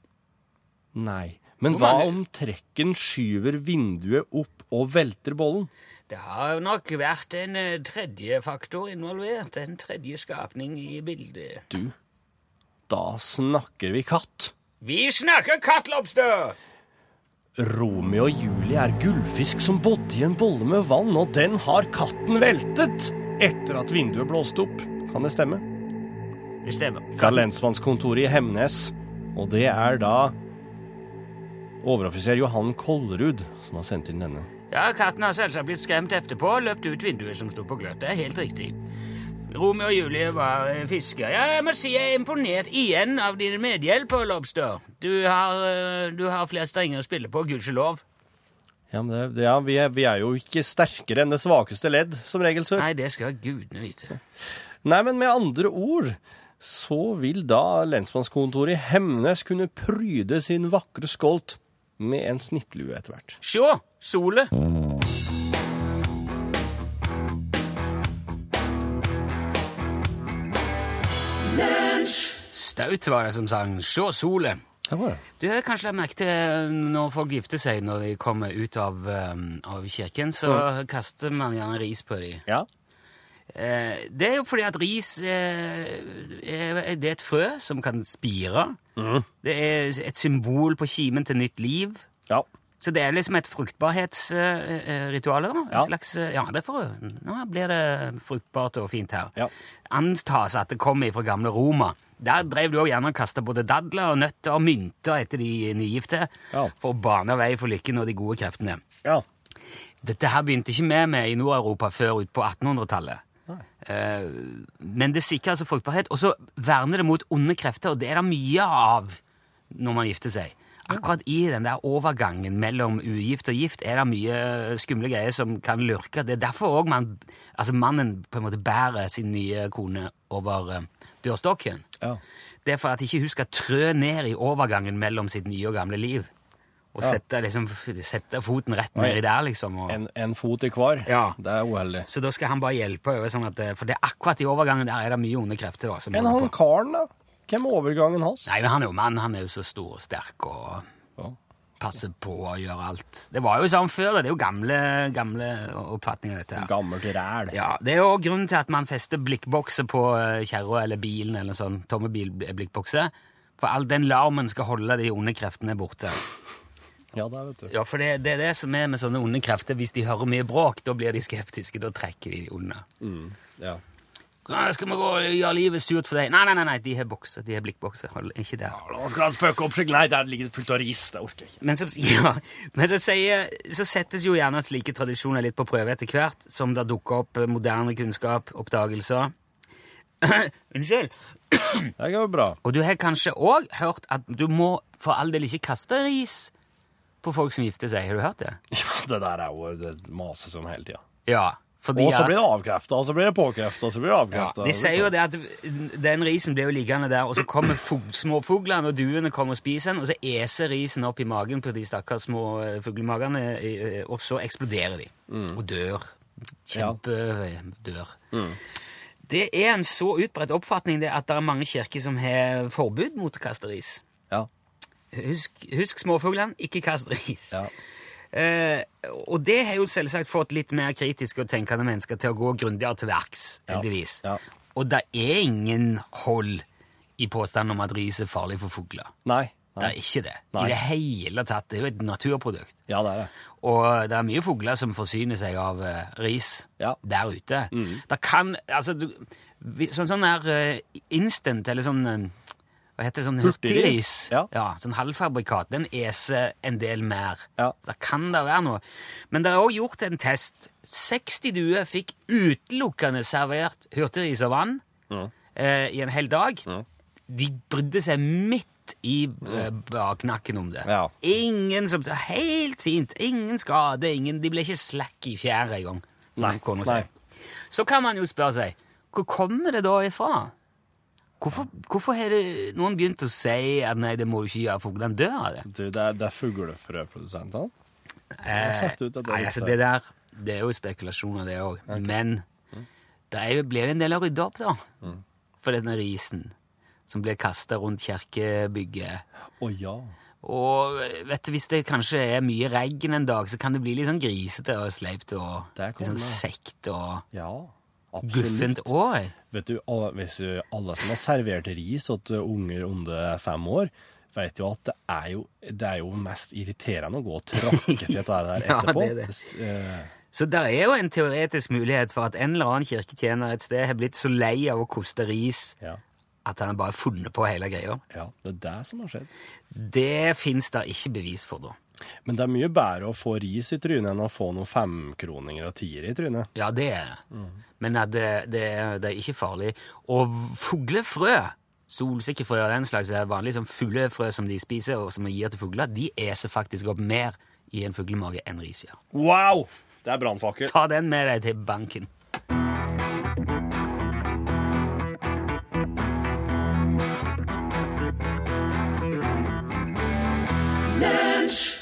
S4: Nei. Men
S3: Hvor
S4: hva
S3: mange-
S4: om trekken skyver vinduet opp og velter bollen?
S3: Det har jo nok vært en eh, tredje faktor involvert, en tredje skapning i bildet.
S4: Du, da snakker vi katt.
S3: Vi snakker kattlobstø!
S4: Romeo og Julie er gullfisk som bodde i en bolle med vann, og den har katten veltet etter at vinduet blåste opp. Kan det stemme?
S3: Det stemmer.
S4: Fra lensmannskontoret i Hemnes. Og det er da overoffiser Johan Kollerud som har sendt inn denne.
S3: Ja, katten har selvsagt blitt skremt etterpå og løpt ut vinduet som sto på gløtt. Det er helt riktig. Romeo og Julie var eh, fisker. Ja, jeg må si jeg er imponert igjen av din medhjelp, Lobster. Du har, eh, du har flere strenger å spille på, gudskjelov.
S4: Ja, men det, det, ja vi, er, vi er jo ikke sterkere enn det svakeste ledd, som regel, sør.
S3: Nei, det skal gudene vite.
S4: Nei, men med andre ord så vil da lensmannskontoret i Hemnes kunne pryde sin vakre skolt med en snipplue etter hvert.
S3: Sjå, solet. Staut var det som sang «Sjå solen».
S4: Det var det.
S3: Du har kanskje lagt merke til eh, når folk gifter seg når de kommer ut av, eh, av kirken, så kaster man gjerne ris på dem. Eh,
S4: Ja.
S3: Det er jo fordi at ris eh, er det er et frø som kan spire. Det er et symbol på kimen til nytt liv.
S4: Ja.
S3: Så det er liksom et fruktbarhetsritual. eh, da. En
S12: Ja.
S3: slags eh, Ja, derfor nå blir det fruktbart og fint her. Antas at det kommer fra gamle Roma. Der drev du også gjerne og kasta både dadler og nøtter og mynter etter de nygifte for å bane vei for lykken og de gode kreftene.
S4: Ja.
S3: Dette her begynte ikke vi med i Nord-Europa før ut på 1800-tallet. Eh, men det sikrer altså fruktbarhet, og så verner det mot onde krefter, og det er det mye av når man gifter seg. Akkurat i den der overgangen mellom ugift og gift er det mye skumle greier som kan lurke. Det er derfor òg man, altså mannen på en måte bærer sin nye kone over eh, dørstokken. Det er for at ikke hun skal trø ned i overgangen mellom sitt nye og gamle liv. Og
S4: Ja.
S3: sette, liksom, f- sette foten rett
S4: Oi.
S3: nedi der, liksom. Og...
S4: En, en fot i hver.
S3: Ja.
S4: Det er uheldig.
S3: Så da skal han bare hjelpe over, sånn at, eh, for det er akkurat i overgangen der er det mye onde krefter. Da, som
S4: Men
S3: holder
S4: han
S3: på.
S4: karen, da? Hvem er overgangen hans?
S3: Nei, men han er jo mann, han er jo så stor og sterk og passer på og gjør alt. Det var jo sånn før, da. det er jo gamle, gamle oppfatninger dette her.
S4: Gammelt ræl.
S3: Ja, det er jo også grunnen til at man fester blikkbokser på eh, kjerra eller bilen eller sånn, tomme bilblikkbokser, for all den larmen skal holde de onde kreftene borte.
S4: Ja, det vet du.
S3: Ja, for det, det er det som er med sånne onde krefter. Hvis de hører mye bråk, da blir de skeptiske, da trekker de unna.
S4: Mm, ja.
S3: Ja, skal vi gå og gjøre livet surt for deg? Nei, nei, nei, nei de har bokser, de har blikkbokser. Hold, ikke der.
S4: Nå skal han fucke opp skikkelig. Nei, der ligger det fullt av ris. Det orker jeg ikke.
S3: Men, som, (laughs) ja, men så, sier, så settes jo gjerne slike tradisjoner litt på prøve etter hvert, som det dukker opp eh, moderne kunnskap, oppdagelser. (clears throat) Unnskyld.
S4: Det går bra.
S3: Og du har kanskje òg hørt at du må for all del ikke kaste ris på folk som gifter seg. Har du hørt det?
S4: (laughs) Ja, det der er jo det mases om hele tida.
S3: Ja, fordi
S4: og så
S3: at-
S4: blir det avkrefta, og så blir det påkrefta, og så blir det avkrefta.
S3: De sier jo det at den risen blir jo liggende der, og så kommer fug- småfuglene og duene kommer og spiser den, og så eser risen opp i magen på de stakkars små eh, fuglemagene, eh, eh, og så eksploderer de og dør. Kjempedør. Det er en så utbredt oppfatning det at det er mange kirker som har forbud mot å kaste ris. Husk, husk småfuglene, ikke kast ris. Eh, og det har jo selvsagt fått litt mer kritiske og tenkende mennesker til å gå grundigere til verks, heldigvis. Og det er ingen hold i påstanden om at ris er farlig for fugler.
S4: Nei.
S3: Det er ikke det.
S4: Nei.
S3: I det hele tatt. Det er jo et naturprodukt.
S4: Ja, det er det.
S3: Og det er mye fugler som forsyner seg av eh, ris der ute. Det kan Altså, du, vi- sånn sånn der eh, instant, eller sånn eh, Hva heter det? Sånn
S4: Hurtigris.
S3: hurtigris. Ja. sånn halvfabrikat. Den eser en del mer. Så Det kan det være noe. Men det er også gjort en test. 60 duer fikk utelukkende servert hurtigris og vann eh, i en hel dag. De brydde seg midt i eh, bakknakken om det. Ingen som Helt fint. Ingen skade. Ingen, de ble ikke slakk i fjæra engang. som
S4: Nei,
S3: kona sier. Så kan man jo spørre seg hvor kommer det da ifra? Hvorfor, hvorfor har det- noen begynt å si at nei, det må du ikke gjøre, fuglene dør av det?
S4: Du, det er, det er fuglefrøprodusentene.
S3: Eh,
S4: som har satt ut at det er
S3: nei,
S4: litt
S3: altså,
S4: der.
S3: det der det er jo spekulasjoner, det òg. Men
S4: Mm.
S3: det er jo, ble jo en del å rydde opp, da. For denne risen som ble kasta rundt kirkebygget.
S4: Å ja.
S3: Og vet du, hvis det kanskje er mye regn en dag, så kan det bli litt sånn grisete og sleipt og litt sånn sekt og guffent år.
S12: Vet du, alle, hvis du, alle som har servert ris til unger under fem år, vet jo at det er jo, det er jo mest irriterende å gå og trakke til
S4: (laughs)
S12: dette der
S3: Ja,
S12: etterpå.
S3: det er det.
S12: s- eh,
S3: Så der er jo en teoretisk mulighet for at en eller annen kirketjener et sted har blitt så lei av å koste ris at han bare har funnet på hele greia.
S12: Ja, det er det som har skjedd.
S3: Det fins det ikke bevis for, da.
S12: men det er mye bedre å få ris i trynet enn å få noen femkroninger og tiere i trynet.
S3: Ja, det er det. Men at det, det, er- det er ikke farlig. Og fuglefrø, solsikkefrø og den slags, er vanlig som fuglefrø som de spiser og som de gir til fugler, de eser faktisk opp mer i en fuglemage enn ris gjør.
S12: Wow! Det er brannfakkel.
S3: Ta den med deg til banken.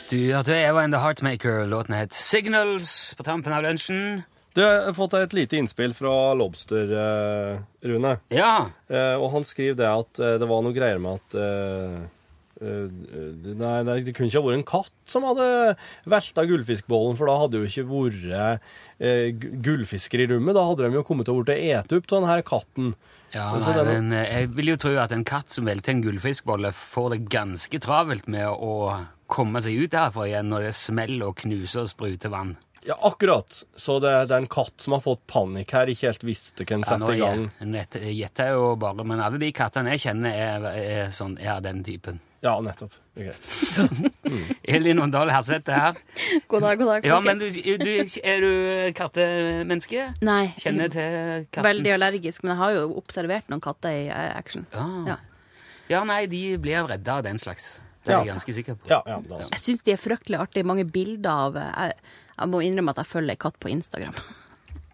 S3: Du hørte Eva and The Heartmaker. Låten het Signals på tampen av lunsjen.
S4: Du jeg har fått et lite innspill fra Lobster, eh, Rune.
S3: Ja.
S4: Eh, og han skriver det at eh, det var noe greier med at eh, eh, det- Nei, det, det kunne ikke ha vært en katt som hadde velta gullfiskbollen, for da hadde jo ikke vært eh, gu- gullfisker i rommet. Da hadde de jo kommet til å blitt ete opp av denne katten.
S3: Ja,
S4: Og så
S3: nei,
S4: det er noe-
S3: men eh, jeg vil jo tro at en katt som velter en gullfiskbolle, får det ganske travelt med å komme seg ut derfra igjen når det smeller og knuser og spruter vann.
S4: Ja, akkurat. Så det, det er en katt som har fått panikk her, ikke helt visste hvem
S3: Ja, nå
S4: sette i gang.
S3: gjett- gjetter jeg jo bare, men alle de kattene jeg kjenner, er, er, sånn, er av den typen.
S4: Ja, nettopp. Ok.
S3: Elin Åndal Herseth er her.
S13: God dag, god dag.
S3: Ja, men
S13: folkens.
S3: du, du, er du kattemenneske?
S13: Nei.
S3: Kjenner til kattens
S13: Veldig allergisk, men jeg har jo observert noen katter i eh, action.
S3: Ah.
S13: Ja.
S3: Ja, nei, de blir redda av den slags. Det er
S13: Ja.
S3: jeg ganske sikker på.
S13: Jeg syns de er fryktelig artige. Mange bilder av eh, jeg, jeg må innrømme at jeg følger ei katt på Instagram.
S3: (laughs)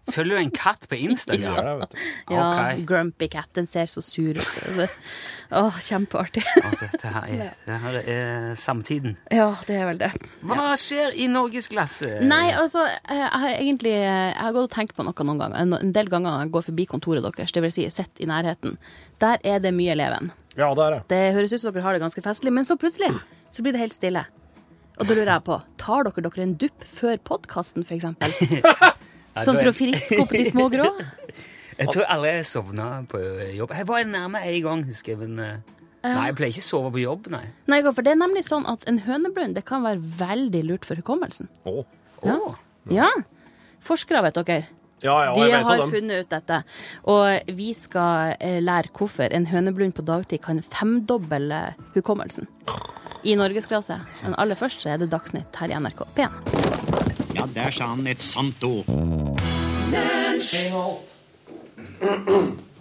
S3: Følger du en katt på Instagram?
S13: Ja, Ja, Grumpy Cat. Den ser så sur ut.
S3: (laughs)
S13: Det- Åh, kjempeartig.
S3: Dette her er, det her er samtiden.
S13: Ja, det er vel det.
S3: Hva skjer i norgesglasset?
S13: Nei, altså, eh, jeg har egentlig eh, Jeg har gått og tenkt på noe noen ganger. En- En del ganger jeg går forbi kontoret deres, det vil si sett i nærheten. Der er det mye leven.
S4: Ja, det er det.
S13: Det høres ut som dere har det ganske festlig, men så plutselig så blir det helt stille. Og da lurer jeg på, tar dere dere en dupp før podkasten, f.eks.? Sånn for å friske opp de små grå?
S3: Jeg tror alle jeg sovna på jobb. Jeg var nærme en gang, husker jeg. Men eh,
S13: Ja.
S3: nei, jeg pleier ikke å sove på jobb, nei.
S13: Nei, for det er nemlig sånn at en hønebrunn det kan være veldig lurt for hukommelsen.
S4: Åh.
S13: Ja. ja. Forskere, vet dere.
S4: Ja, ja,
S13: De
S4: jeg vet
S13: har
S4: av dem.
S13: funnet ut dette. Og vi skal eh, lære hvorfor en høneblund på dagtid kan femdoble hukommelsen. I norgesklasse. Men aller først så er det Dagsnytt her i NRK P1.
S14: Ja, der sa han et sant ord.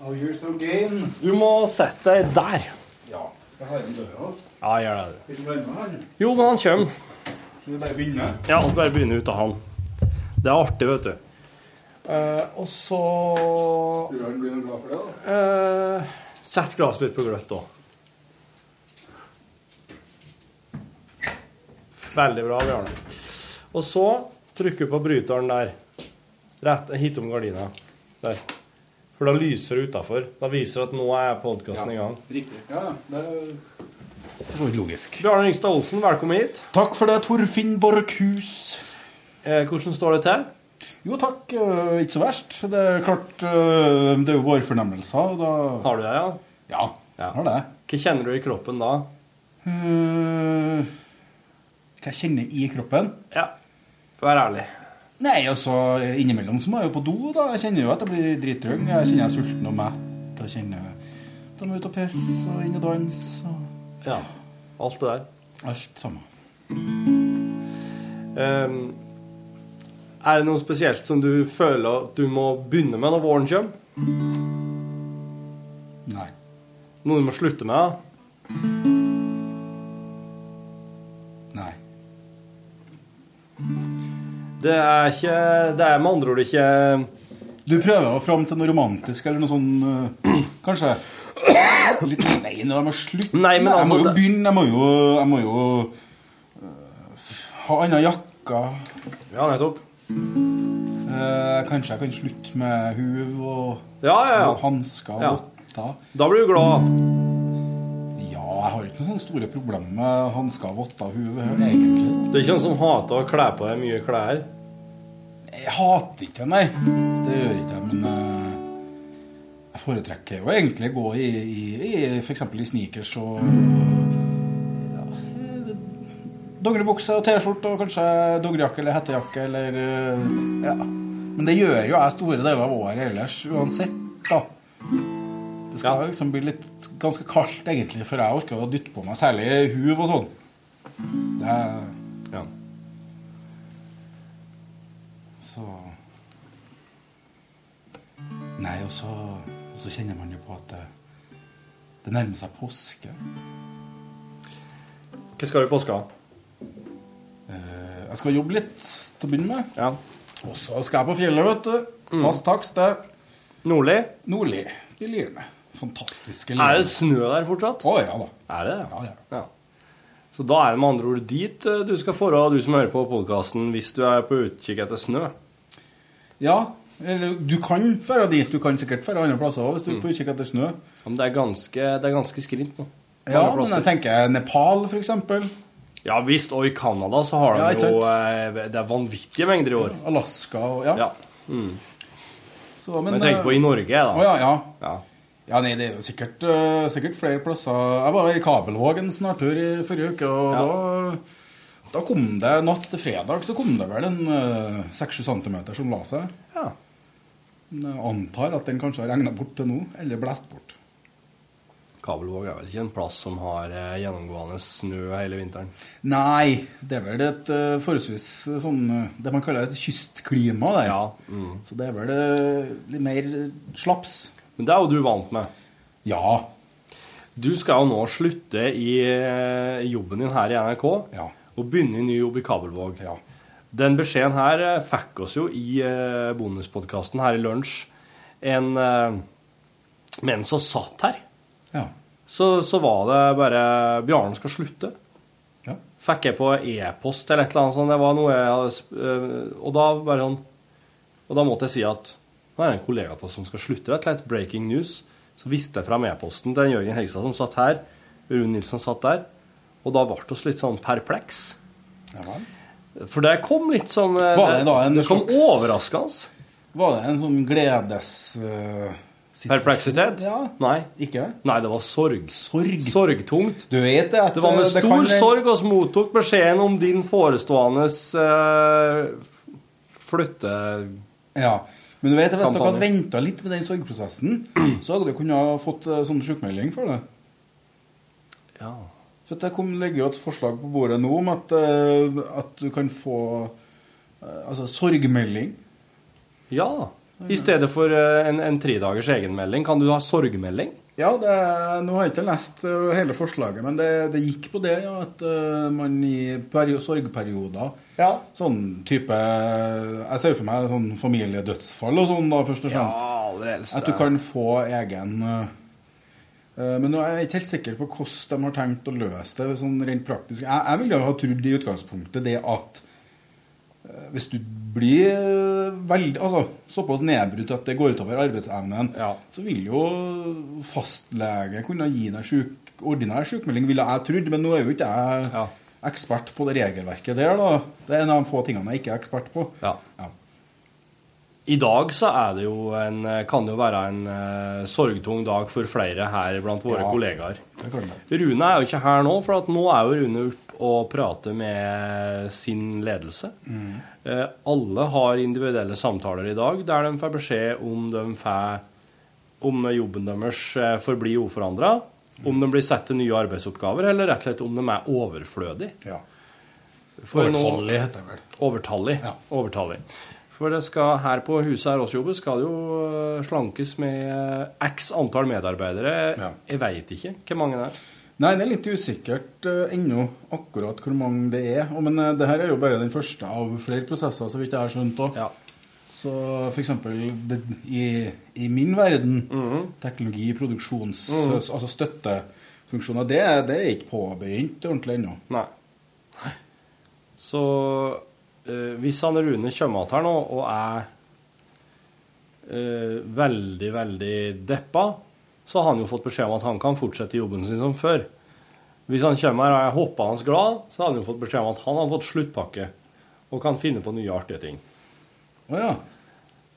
S15: Oh, you're so game.
S4: Du må sette deg der.
S15: Skal jeg ha igjen døra?
S4: Ja, gjør det.
S15: Skal du være med her?
S4: Jo, men han kommer.
S15: Skal vi bare begynne?
S4: Ja, så bare begynne ut av han. Det er artig, vet du. Eh, og så
S15: Tror du han blir noe glad for det, da?
S4: eh, Sett glasset litt på gløtt, da. Veldig bra, Bjarne. Og så trykker du på bryteren der. Rett hit om gardina. Der. For da lyser det utafor. Da viser det at nå er podkasten i gang.
S15: Riktig. Ja, ja. Det er
S4: For så vidt logisk. Bjarne Ringstad Olsen, velkommen hit.
S15: Takk for det, Torfinn Borchhus.
S4: Eh, hvordan står det til?
S15: Jo takk, eh, ikke så verst. Det er klart eh, Det er jo våre fornemmelser, og da
S4: Har du det, ja?
S15: Ja, har det.
S4: Hva kjenner du i kroppen da?
S15: Eh, hva jeg kjenner i kroppen?
S4: Ja. Vær ærlig.
S15: Nei, altså, innimellom så må jeg jo på do, da. Jeg kjenner jo at jeg blir drittrøng. Jeg kjenner jeg er sulten og mett. Jeg kjenner at jeg må ut og pisse og inn og danse. Og...
S4: Ja. Alt det der.
S15: Alt sammen.
S4: Ehm, er det noe spesielt som du føler at du må begynne med når våren kommer?
S15: Nei.
S4: Noe du må slutte med? da?
S15: Nei.
S4: Det er ikke Det er med andre ord ikke
S15: Du prøver å fram til noe romantisk eller noe sånn øh, Kanskje Litt Nei, nå jeg må slutte.
S4: Nei, men
S15: jeg må
S4: altså,
S15: jo
S4: det-
S15: begynne. Jeg må jo, jeg må jo øh, ha annen jakke.
S4: Ja, nettopp.
S15: Eh, kanskje jeg kan slutte med huv og,
S4: ja, ja.
S15: og hansker og
S4: Ja.
S15: votter.
S4: Da blir du glad.
S15: Ja, jeg har har ikke noen sånne store problemer med hansker, votter og hue, egentlig.
S4: Det er ikke han som hater å kle på deg mye klær?
S15: Jeg hater ikke, nei. Det gjør jeg ikke men eh, jeg foretrekker jo egentlig å gå i, i, i f.eks. i sneakers og ja, eh, dongeribukse og T-skjorte og kanskje dongerijakke eller hettejakke eller eh, ja. Men det gjør jo jeg store deler av året ellers uansett, da. Det skal liksom bli litt ganske kaldt egentlig, for jeg orker å dytte på meg særlig huv og sånn. Det er
S4: Ja.
S15: Så Nei, og så, og så kjenner man jo på at det, det nærmer seg påske.
S4: Hva skal du i påska?
S15: jeg skal jobbe litt til å begynne med. Og så skal jeg på fjellet, vet du.
S4: Mm.
S15: Fast takst, det.
S4: Nordli?
S15: Nordli i Lierne. Fantastiske
S4: Er det snø der fortsatt?
S15: Å ja da.
S4: Er det? Ja, Så da er det med andre ord dit eh, du skal forra, du som hører på podkasten, hvis du er på utkikk etter snø.
S15: Ja, eller du kan dra dit. Du kan sikkert dra andre plasser òg hvis du er på utkikk etter snø.
S4: Mm. Ja, men det er ganske, det er ganske skrint nå.
S15: Ja,
S4: Mange
S15: men
S4: plasser.
S15: jeg tenker Nepal, for eksempel.
S4: Ja visst, og i Canada så har
S15: Ja,
S4: de
S15: ikke
S4: jo eh, Det er vanvittige mengder i år.
S15: Alaska og Ja.
S4: Mm.
S15: Så,
S4: Men jeg tenkte på i Norge, da.
S15: Å, ja, ja.
S4: Ja.
S15: Ja, nei, det er jo sikkert, eh, sikkert flere plasser. Jeg var i Kabelvåg en snartur i forrige uke, og da, da kom det natt til fredag så kom det vel en eh, 6-7 cm som la seg.
S4: Ja.
S15: Men Jeg antar at den kanskje har regna bort til nå, eller blåst bort.
S4: Kabelvåg er vel ikke en plass som har eh, gjennomgående snø hele vinteren.
S15: Nei, det er vel et eh, forholdsvis eh, sånn eh, Det man kaller et kystklima der.
S4: Ja, mm.
S15: Så det er vel eh, litt mer eh, slaps.
S4: Men det er jo du vant med.
S15: Ja.
S4: Du skal jo nå slutte i eh, jobben din her i NRK og begynne i ny jobb i Kabelvåg. Den beskjeden her eh, fikk oss jo i eh, bonuspodkasten her i lunsj en eh, Mens vi satt her,
S15: Ja.
S4: så, så var det bare Bjarne skal slutte.
S15: Ja.
S4: Fikk jeg på e-post eller et eller annet sånt. Det var noe jeg hadde sp- eh, Og da bare sånn Og da måtte jeg si at nå er det en kollega av oss som skal slutte, rett og slett. Breaking news. Så viste jeg fram e-posten til Jørgen Hegstad som satt her. Rune Nilsson satt der. Og da ble oss litt sånn perpleks.
S15: Ja vel.
S4: For det kom litt som eh,
S15: Var det da en
S4: det kom
S15: slags-
S4: overraskende.
S15: Var det en sånn gledessituasjon?
S4: Perpleksitet?
S15: Ja.
S4: Nei.
S15: Ikke?
S4: Nei, det var sorg.
S15: Sorg.
S4: Sorgtungt.
S15: Du vet det at
S4: Det var med
S15: eh,
S4: stor
S15: kan-
S4: sorg oss mottok beskjeden om din forestående eh, flytte...
S15: Ja. Men du vet, hvis dere
S4: Kampanje.
S15: hadde venta litt med den sorgprosessen, så hadde dere kunnet ha fått eh, sånn sjukmelding for det.
S4: Ja.
S15: For at det kom, ligger jo et forslag på bordet nå om at, eh, at du kan få eh, altså sorgmelding.
S4: Ja. I stedet for eh, en, en tredagers egenmelding, kan du ha sorgmelding?
S15: Ja, det, nå har jeg ikke lest eh, hele forslaget, men det, det gikk på det ja, at eh, man i perio- sorgperioder Sånn type Jeg ser jo for meg sånn familiedødsfall og sånn, da, først og fremst.
S4: det helst.
S15: At du kan få egen eh, eh, Men nå er jeg ikke helt sikker på hvordan de har tenkt å løse det sånn rent praktisk. Jeg, jeg ville jo ha trodd i utgangspunktet det at eh, hvis du blir eh, veldig, altså, såpass nedbrutt at det går utover arbeidsevnen, så vil jo fastlege kunne gi deg syk, ordinær sykmelding, ville jeg trodd. Men nå er jo ikke jeg ekspert på det regelverket der. da. Det er en av de få tingene jeg ikke er ekspert på.
S4: Ja. I dag så er det jo en, eh, kan det jo være en eh, sorgtung dag for flere her blant våre
S15: Ja.
S4: kollegaer.
S15: Det kan det.
S4: Rune er jo ikke her nå, for at nå er jo Rune opp og prater med sin ledelse.
S15: Mm.
S4: Eh, alle har individuelle samtaler i dag der de får beskjed om, de får, om jobben deres eh, forblir uforandra, om de blir satt til nye arbeidsoppgaver, eller rett og slett om de er overflødige.
S15: Ja.
S4: nå-
S15: Overtallig heter det vel.
S4: Overtallig. Overtallig. For det skal, her på huset her også jobber, skal det jo eh, slankes med x antall medarbeidere. Jeg veit ikke hvor mange det er.
S15: Nei, det er litt usikkert eh, ennå akkurat hvor mange det er. Og, men eh, det her er jo bare den første av flere prosesser, så vidt jeg har skjønt. også. Så for eksempel det, i, i min verden, teknologi, produksjons...
S4: Mhm.
S15: s- Altså støttefunksjoner, det, er- det er ikke påbegynt ordentlig ennå.
S4: Nei. Så eh, hvis han Rune kommer att her nå og er eh, veldig, veldig deppa, så har han jo fått beskjed om at han kan fortsette jobben sin som før. Hvis han kommer her og jeg hopper hans glad, så har han jo fått beskjed om at han har fått sluttpakke og kan finne på nye artige ting.
S15: Å ja.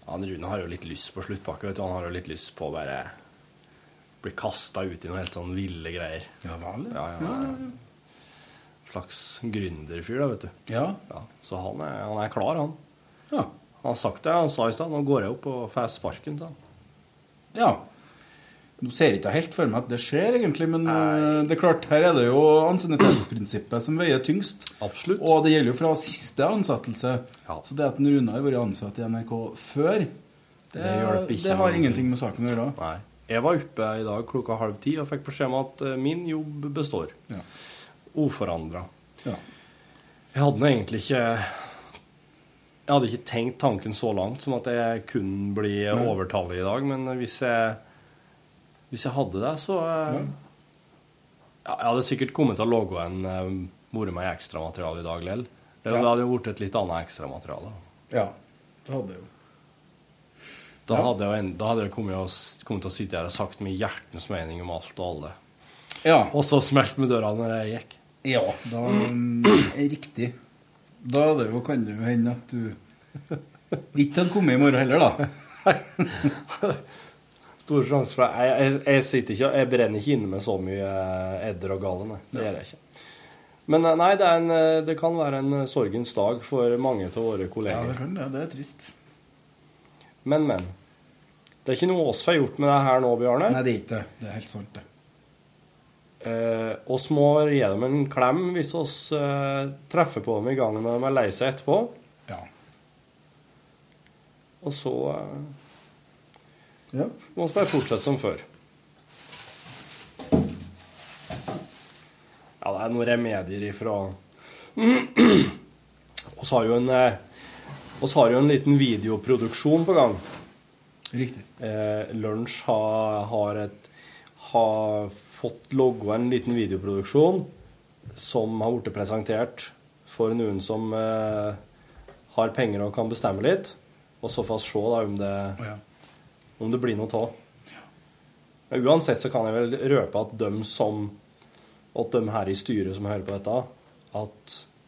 S4: Han Rune har jo litt lyst på sluttpakke, vet du. Han har jo litt lyst på å bare bli kasta ut i noen helt sånn ville greier.
S15: Ja vel?
S4: Ja, ja, ja. Slags gründerfyr, da, vet du.
S15: Ja.
S4: Så han er, han er klar, han.
S15: Ja.
S4: Han har sagt det, han sa i stad. Nå går jeg opp og får sparken, sa han.
S15: Ja. Nå ser jeg ikke helt for meg at det skjer, egentlig, men eh, det er klart, her er det jo ansiennitetsprinsippet som veier tyngst.
S4: Absolutt.
S15: Og det gjelder jo fra siste ansettelse. Så det at en Rune har vært ansatt i NRK før, det,
S4: Det hjelper ikke
S15: det har
S4: noe.
S15: ingenting med saken å gjøre.
S4: Nei. Jeg var oppe i dag klokka halv ti og fikk beskjed om at eh, min jobb består.
S15: Ja.
S4: Uforandra.
S15: Ja.
S4: Jeg hadde nå egentlig ikke Jeg hadde ikke tenkt tanken så langt som at jeg kunne bli
S15: Nei.
S4: overtallig i dag, men hvis jeg, hvis jeg hadde det, så eh, ja, Jeg hadde sikkert kommet til å logge en eh, vært med i ekstramateriale i dag lell. Det, det hadde jo blitt et litt annet ekstramateriale.
S15: Ja, det hadde jeg jo.
S4: Da,
S15: Ja.
S4: hadde jeg, jo en- da hadde jeg kommet, og, s- kommet til å sitte her og sagt min hjertens mening om alt og alle. Og så smelt med døra når jeg gikk.
S15: Ja, da mm, er riktig. Da er det jo, kan det jo hende at du (laughs) ikke hadde kommet i morgen heller, da.
S4: Stor sjanse for det. Jeg, jeg, jeg sitter ikke Jeg brenner ikke inne med så mye eh, edder og gale, nei. Det gjør jeg ikke. Men eh, nei, det, er en, eh, det kan være en eh, sorgens dag for mange av våre
S15: Ja, det
S4: kolleger.
S15: kan det. Det er trist.
S4: Men, men. Det er ikke noe oss får gjort med det her nå, Bjarne.
S15: Nei, det er ikke det. Det er helt sant, det.
S4: Eh, oss må gi dem en klem hvis oss eh, treffer på dem i gangen når de er lei seg etterpå.
S15: Ja.
S4: Og så eh,
S15: Ja.
S4: må vi bare fortsette som før. Ja, det er noen remedier ifra Vi har jo en eh, oss har jo en liten videoproduksjon på gang.
S15: Riktig.
S4: Eh, Lunsj har, har, et, har fått logga en liten videoproduksjon som har blitt presentert for noen som eh, har penger og kan bestemme litt. Og så får vi se da, om, det, om det blir noe av. Men Uansett så kan jeg vel røpe at dem som at dem her i styret som hører på dette, at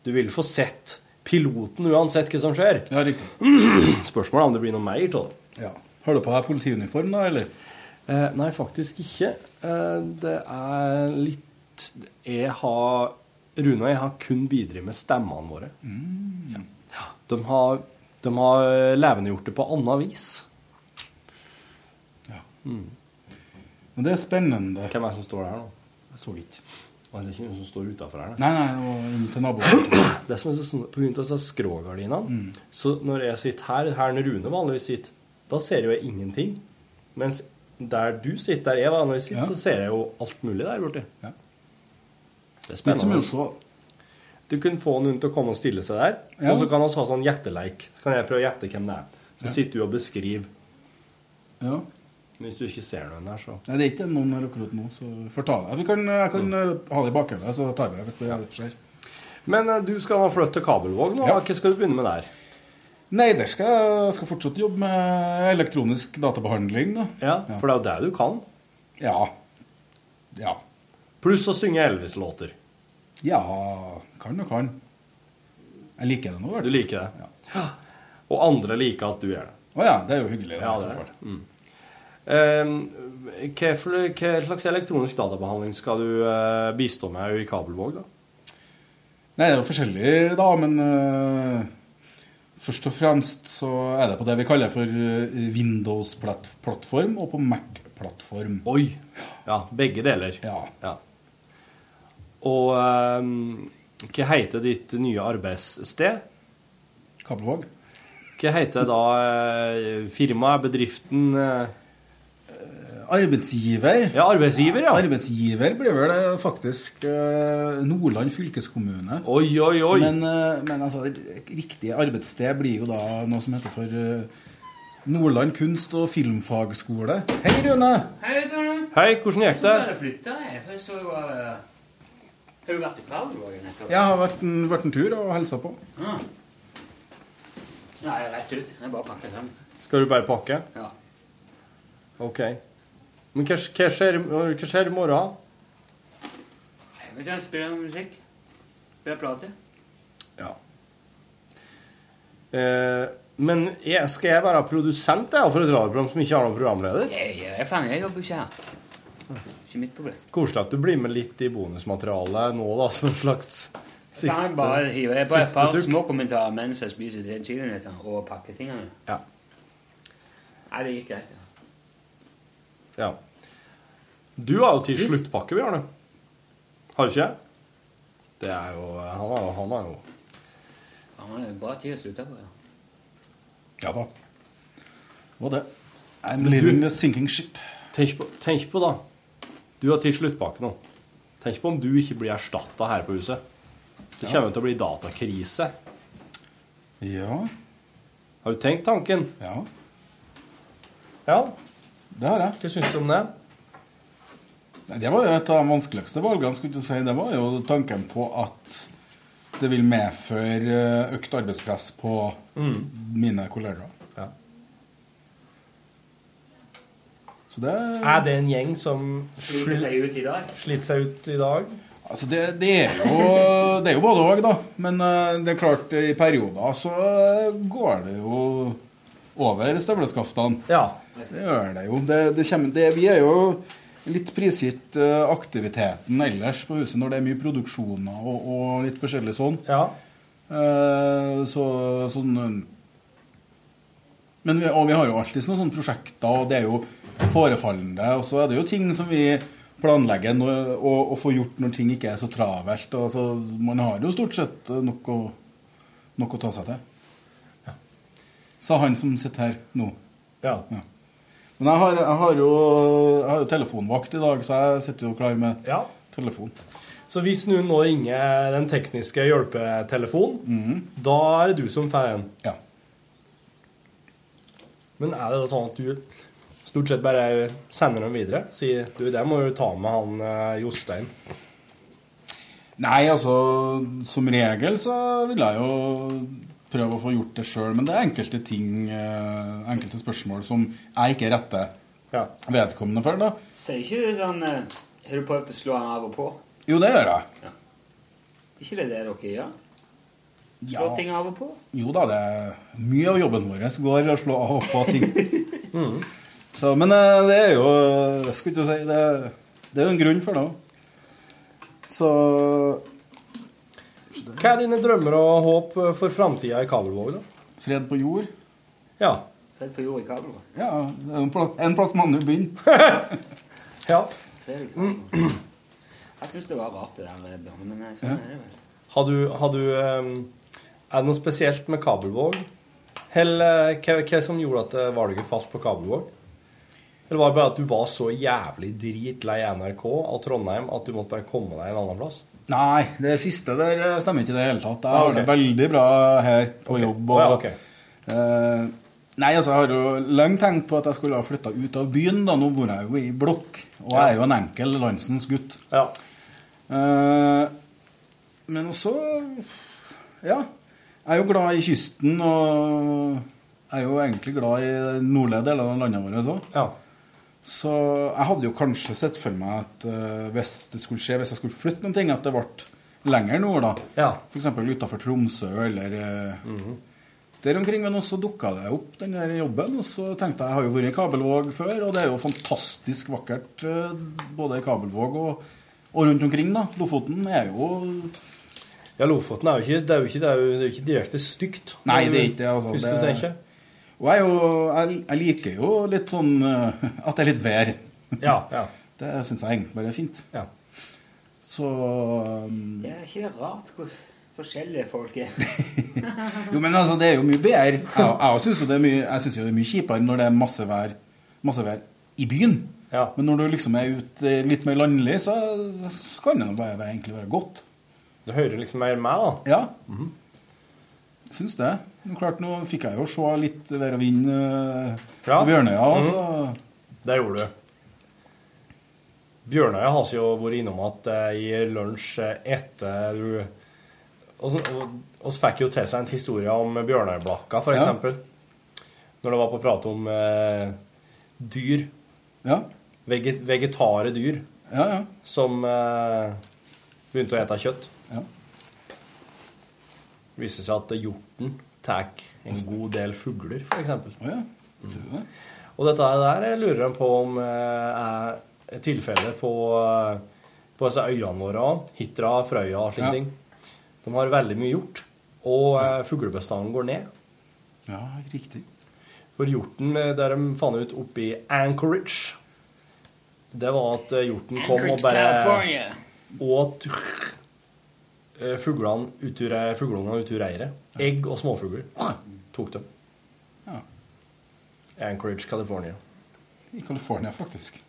S4: du vil få sett piloten uansett hva som skjer.
S15: Ja, riktig.
S4: Spørsmålet er om det blir noe mer av det.
S15: Ja. Har du på deg politiuniform da, eller?
S4: Eh, nei, faktisk ikke. Eh, det er litt Jeg har Rune og jeg har kun bidratt med stemmene våre. Mm, De har, de har levendegjort det på annet vis. Mm.
S15: Men det er spennende.
S4: Hvem er det som står der nå?
S15: Jeg så ikke.
S4: Å, Det er ikke noen som står utafor her?
S15: Nei, nei, det var inn til naboen.
S4: Det som er så sånn, På grunn av disse skrågardinene Så når jeg sitter her, her når Rune vanligvis sitter, da ser jo jeg ingenting. Mens der du sitter, der jeg vanligvis sitter,
S15: Ja.
S4: så ser jeg jo alt mulig der borte. Det er
S15: Litt som i
S4: spennende. Du kunne få noen til å komme og stille seg der,
S15: Ja.
S4: og så kan vi ha sånn gjetteleik. Så kan jeg prøve å gjette hvem det er. Så
S15: Ja.
S4: sitter du og beskriver.
S15: Ja.
S4: Men hvis du ikke ser noen der, så
S15: Nei, det er ikke noen her akkurat nå, så får ta det. Vi kan, jeg kan eh, ha det i bakhodet, så tar vi det hvis det skjer.
S4: Men eh, du skal ha flytt til Kabelvåg nå. Hva skal du begynne med der?
S15: Nei, der skal jeg skal fortsatt jobbe med elektronisk databehandling, da.
S4: Ja, For det er jo det du kan.
S15: Ja. Ja.
S4: Pluss å synge Elvis-låter.
S15: Ja, kan og kan. Jeg liker det nå, i hvert
S4: Du liker det. Og andre liker at du gjør det.
S15: Å ja, det er jo hyggelig. da,
S4: Ja,
S15: i så
S4: det er
S15: fall.
S4: det. Mm. Eh, hva, for, hva slags elektronisk databehandling skal du eh, bistå med i Kabelvåg, da?
S15: Nei, det er jo forskjellig, da, men eh, først og fremst så er det på det vi kaller for eh, Windows-plattform og på Mac-plattform.
S4: Oi! Ja, begge deler.
S15: Ja.
S4: Og eh, hva heter ditt nye arbeidssted?
S15: Kabelvåg.
S4: Hva heter da eh, firmaet, bedriften eh,
S15: Arbeidsgiver.
S4: Ja, arbeidsgiver, ja.
S15: Arbeidsgiver blir vel det faktisk eh, Nordland fylkeskommune.
S4: Oi, oi, oi.
S15: Men, eh, men altså, det riktige arbeidssted blir jo da noe som heter for eh, Nordland kunst- og filmfagskole. Hei, Rune!
S16: Hei, Bjørn.
S4: Hei, hvordan gikk det?
S16: Jeg har flytta, jeg. For jeg så eh, jo eh, Har du vært i Kvalvågen nettopp?
S15: Jeg har vært en, vært en tur og helsa på.
S16: Ah. Nei, rett ut. Jeg bare pakker sammen.
S4: Skal du bare pakke?
S16: Ja.
S4: OK. Men hva, hva, skjer, hva skjer i morgen?
S16: Jeg Hvis jeg spiller noe musikk, spiller plate.
S4: Eh, men jeg, skal jeg være produsent jeg, for et radioprogram som ikke har noen programleder?
S16: Jeg, jeg er fan, jeg jobber ikke her. Ikke mitt problem.
S4: Koselig at du blir med litt i bonusmaterialet nå, da, som en slags
S16: Siste,
S4: siste,
S16: kan jeg bare hive jeg bare et par
S4: siste sukk.
S16: små kommentarer mens jeg spiser den chilinøtter og pakker fingrene?
S4: Ja.
S16: Nei, det gikk greit. ja.
S4: Ja. Du har jo til sluttpakke, Bjarne. Har du ikke? Det er jo Han er jo, han er jo.
S16: Ja, men det er bra tid å slutte på. ja.
S15: Ja da. Hva det? I'm living the sinking ship.
S4: Tenk på, tenk på da. Du har til sluttpakke nå. Tenk på om du ikke blir erstatta her på huset. Det
S15: Ja.
S4: kommer til å bli datakrise.
S15: Ja.
S4: Har du tenkt tanken?
S15: Ja.
S4: Ja.
S15: Det har jeg.
S4: Hva syns du om det?
S15: Nei, Det var jo et av de vanskeligste valgene. skulle du si. Det var jo tanken på at det vil medføre eh, økt arbeidspress på
S4: Mm.
S15: mine kollegaer.
S4: Ja.
S15: Så det
S4: Er det en gjeng som
S16: Sliter seg ut i dag?
S4: Sliter seg ut i dag?
S15: Altså, det, det, er, jo, det er jo både òg, da. Men eh, det er klart, i perioder så eh, går det jo over støvleskaftene.
S4: Ja.
S15: Det gjør det jo. Det, det kommer, det, vi er jo litt prisgitt eh, aktiviteten ellers på huset når det er mye produksjoner og, og litt forskjellig sånn. Eh, så, sånn eh, men vi, og vi har jo alltid noen sånne prosjekter, og det er jo forefallende. Og så er det jo ting som vi planlegger nå, og, og får gjort når ting ikke er så travelt. Og, så, man har jo stort sett eh, nok å, nok å ta seg til. Sa han som sitter her nå.
S4: Ja.
S15: Men jeg har, jeg, har jo, jeg har jo telefonvakt i dag, så jeg sitter jo klar med telefon.
S4: Så hvis noen nå ringer den tekniske hjelpetelefonen, da er det du som får en?
S15: Ja.
S4: Men er det da sånn at du stort sett bare sender dem videre? Sier du, det må du ta med han eh, Jostein.
S15: Nei, altså Som regel så vil jeg jo prøve å få gjort det sjøl, men det er enkelte ting, eh, enkelte spørsmål som jeg ikke retter vedkommende for. da.
S16: Sier ikke du sånn eh, Har du prøvd å slå han av og på?
S15: Jo, det gjør jeg.
S16: ikke det det dere gjør?
S15: Ja.
S16: Slå ting av og på?
S15: Jo da, det er mye av jobben vår går i å slå av og på
S16: (laughs)
S15: ting.
S16: Mm.
S15: Så, men eh, det er jo jeg Skal ikke si Det, det er jo en grunn for det òg. Så
S4: Hva er dine drømmer og håp for framtida i Kabelvåg, da?
S15: Fred på jord.
S4: Ja.
S16: Fred på jord i kabel? da.
S15: ja, det er jo en plass, en plass man jo begynner.
S4: ja.
S16: Fred i kabel. Jeg syns det var rart, det der, eh, Bjørne, men eh, sånn
S4: Mm. Ja.
S16: er det vel.
S4: Har du, har du ehm, Er det noe spesielt med Kabelvåg? Eller eh, hva, hva som gjorde at eh, valget falt på Kabelvåg? Eller var det bare at du var så jævlig dritlei NRK av Trondheim at du måtte bare komme deg en annen plass?
S15: Nei, det siste der eh, stemmer ikke i det hele tatt. Jeg
S4: Ah,
S15: har
S4: ok.
S15: det veldig bra her på jobb. Og,
S4: Å, ja, ok.
S15: eh, nei, altså, jeg har jo lenge tenkt på at jeg skulle ha flytta ut av byen. da. Nå bor jeg jo i blokk, og jeg er jo en enkel landsens gutt. Eh, men også Ja. Jeg er jo glad i kysten, og jeg er jo egentlig glad i den nordlige delen av landet vårt òg. Så jeg hadde jo kanskje sett for meg at eh, hvis det skulle skje, hvis jeg skulle flytte noen ting, at det ble lenger nord, da.
S4: Ja.
S15: F.eks. utafor Tromsø eller eh, der omkring. Men også dukka det opp, den der jobben. Og så tenkte jeg jeg har jo vært i Kabelvåg før, og det er jo fantastisk vakkert eh, både i Kabelvåg og, og rundt omkring, da. Lofoten er jo
S4: Ja, Lofoten er jo ikke, det er jo ikke, det er jo, det er jo ikke direkte stygt.
S15: Nei, det er ikke det. Altså,
S4: Hvis
S15: det...
S4: du tenker.
S15: Og jeg, er jo, jeg, jeg liker jo litt sånn eh, (laughs) at det er litt vær.
S4: Ja,
S15: Det syns jeg egentlig bare er fint. Så um,
S16: Det er ikke rart hvor forskjellige folk er.
S4: (laughs)
S15: Jo, men altså, det er jo mye bedre. Jeg, jeg syns jo det er mye, jeg synes jo det er mye kjipere når det er masse vær, masse vær i byen. Men når du liksom er ute litt mer landlig, så, så kan det nå bare være, egentlig være godt.
S4: Du hører liksom mer med, da?
S15: Ja. Syns det. Men klart, nå fikk jeg jo se litt vær og vind eh, på Bjørnøya.
S4: Mhm.
S15: Så
S4: Det gjorde du. Bjørnøya har jo vært innom at eh, i lunsj eh, etter du og så- og- og så fikk jo til seg en historie om Bjørnøyblakka, for
S15: Ja.
S4: eksempel. Når det var på prat om eh, dyr.
S15: Ja.
S4: Veget, vegetare dyr.
S15: Ja, ja.
S4: Som eh, Begynte å ete kjøtt.
S15: Ja.
S4: Det viser seg at hjorten tar en god del fugler, f.eks.
S15: Mm.
S4: Og dette her der lurer de på om eh, er tilfellet på, eh, på disse øyene våre òg. Hitra, Frøya og slike
S15: Ja.
S4: ting. De har veldig mye hjort, og eh, fuglebestanden går ned.
S15: Ja, riktig.
S4: For hjorten eh, der de fant ut oppe i Anchorage Det var at eh, hjorten kom
S3: Anchorage,
S4: og bare
S3: California.
S4: åt eh, fuglene eh, utur, fuglene utur eiret. Egg og småfugler tok dem.
S15: Ja.
S4: Anchorage, California.
S15: I California, faktisk.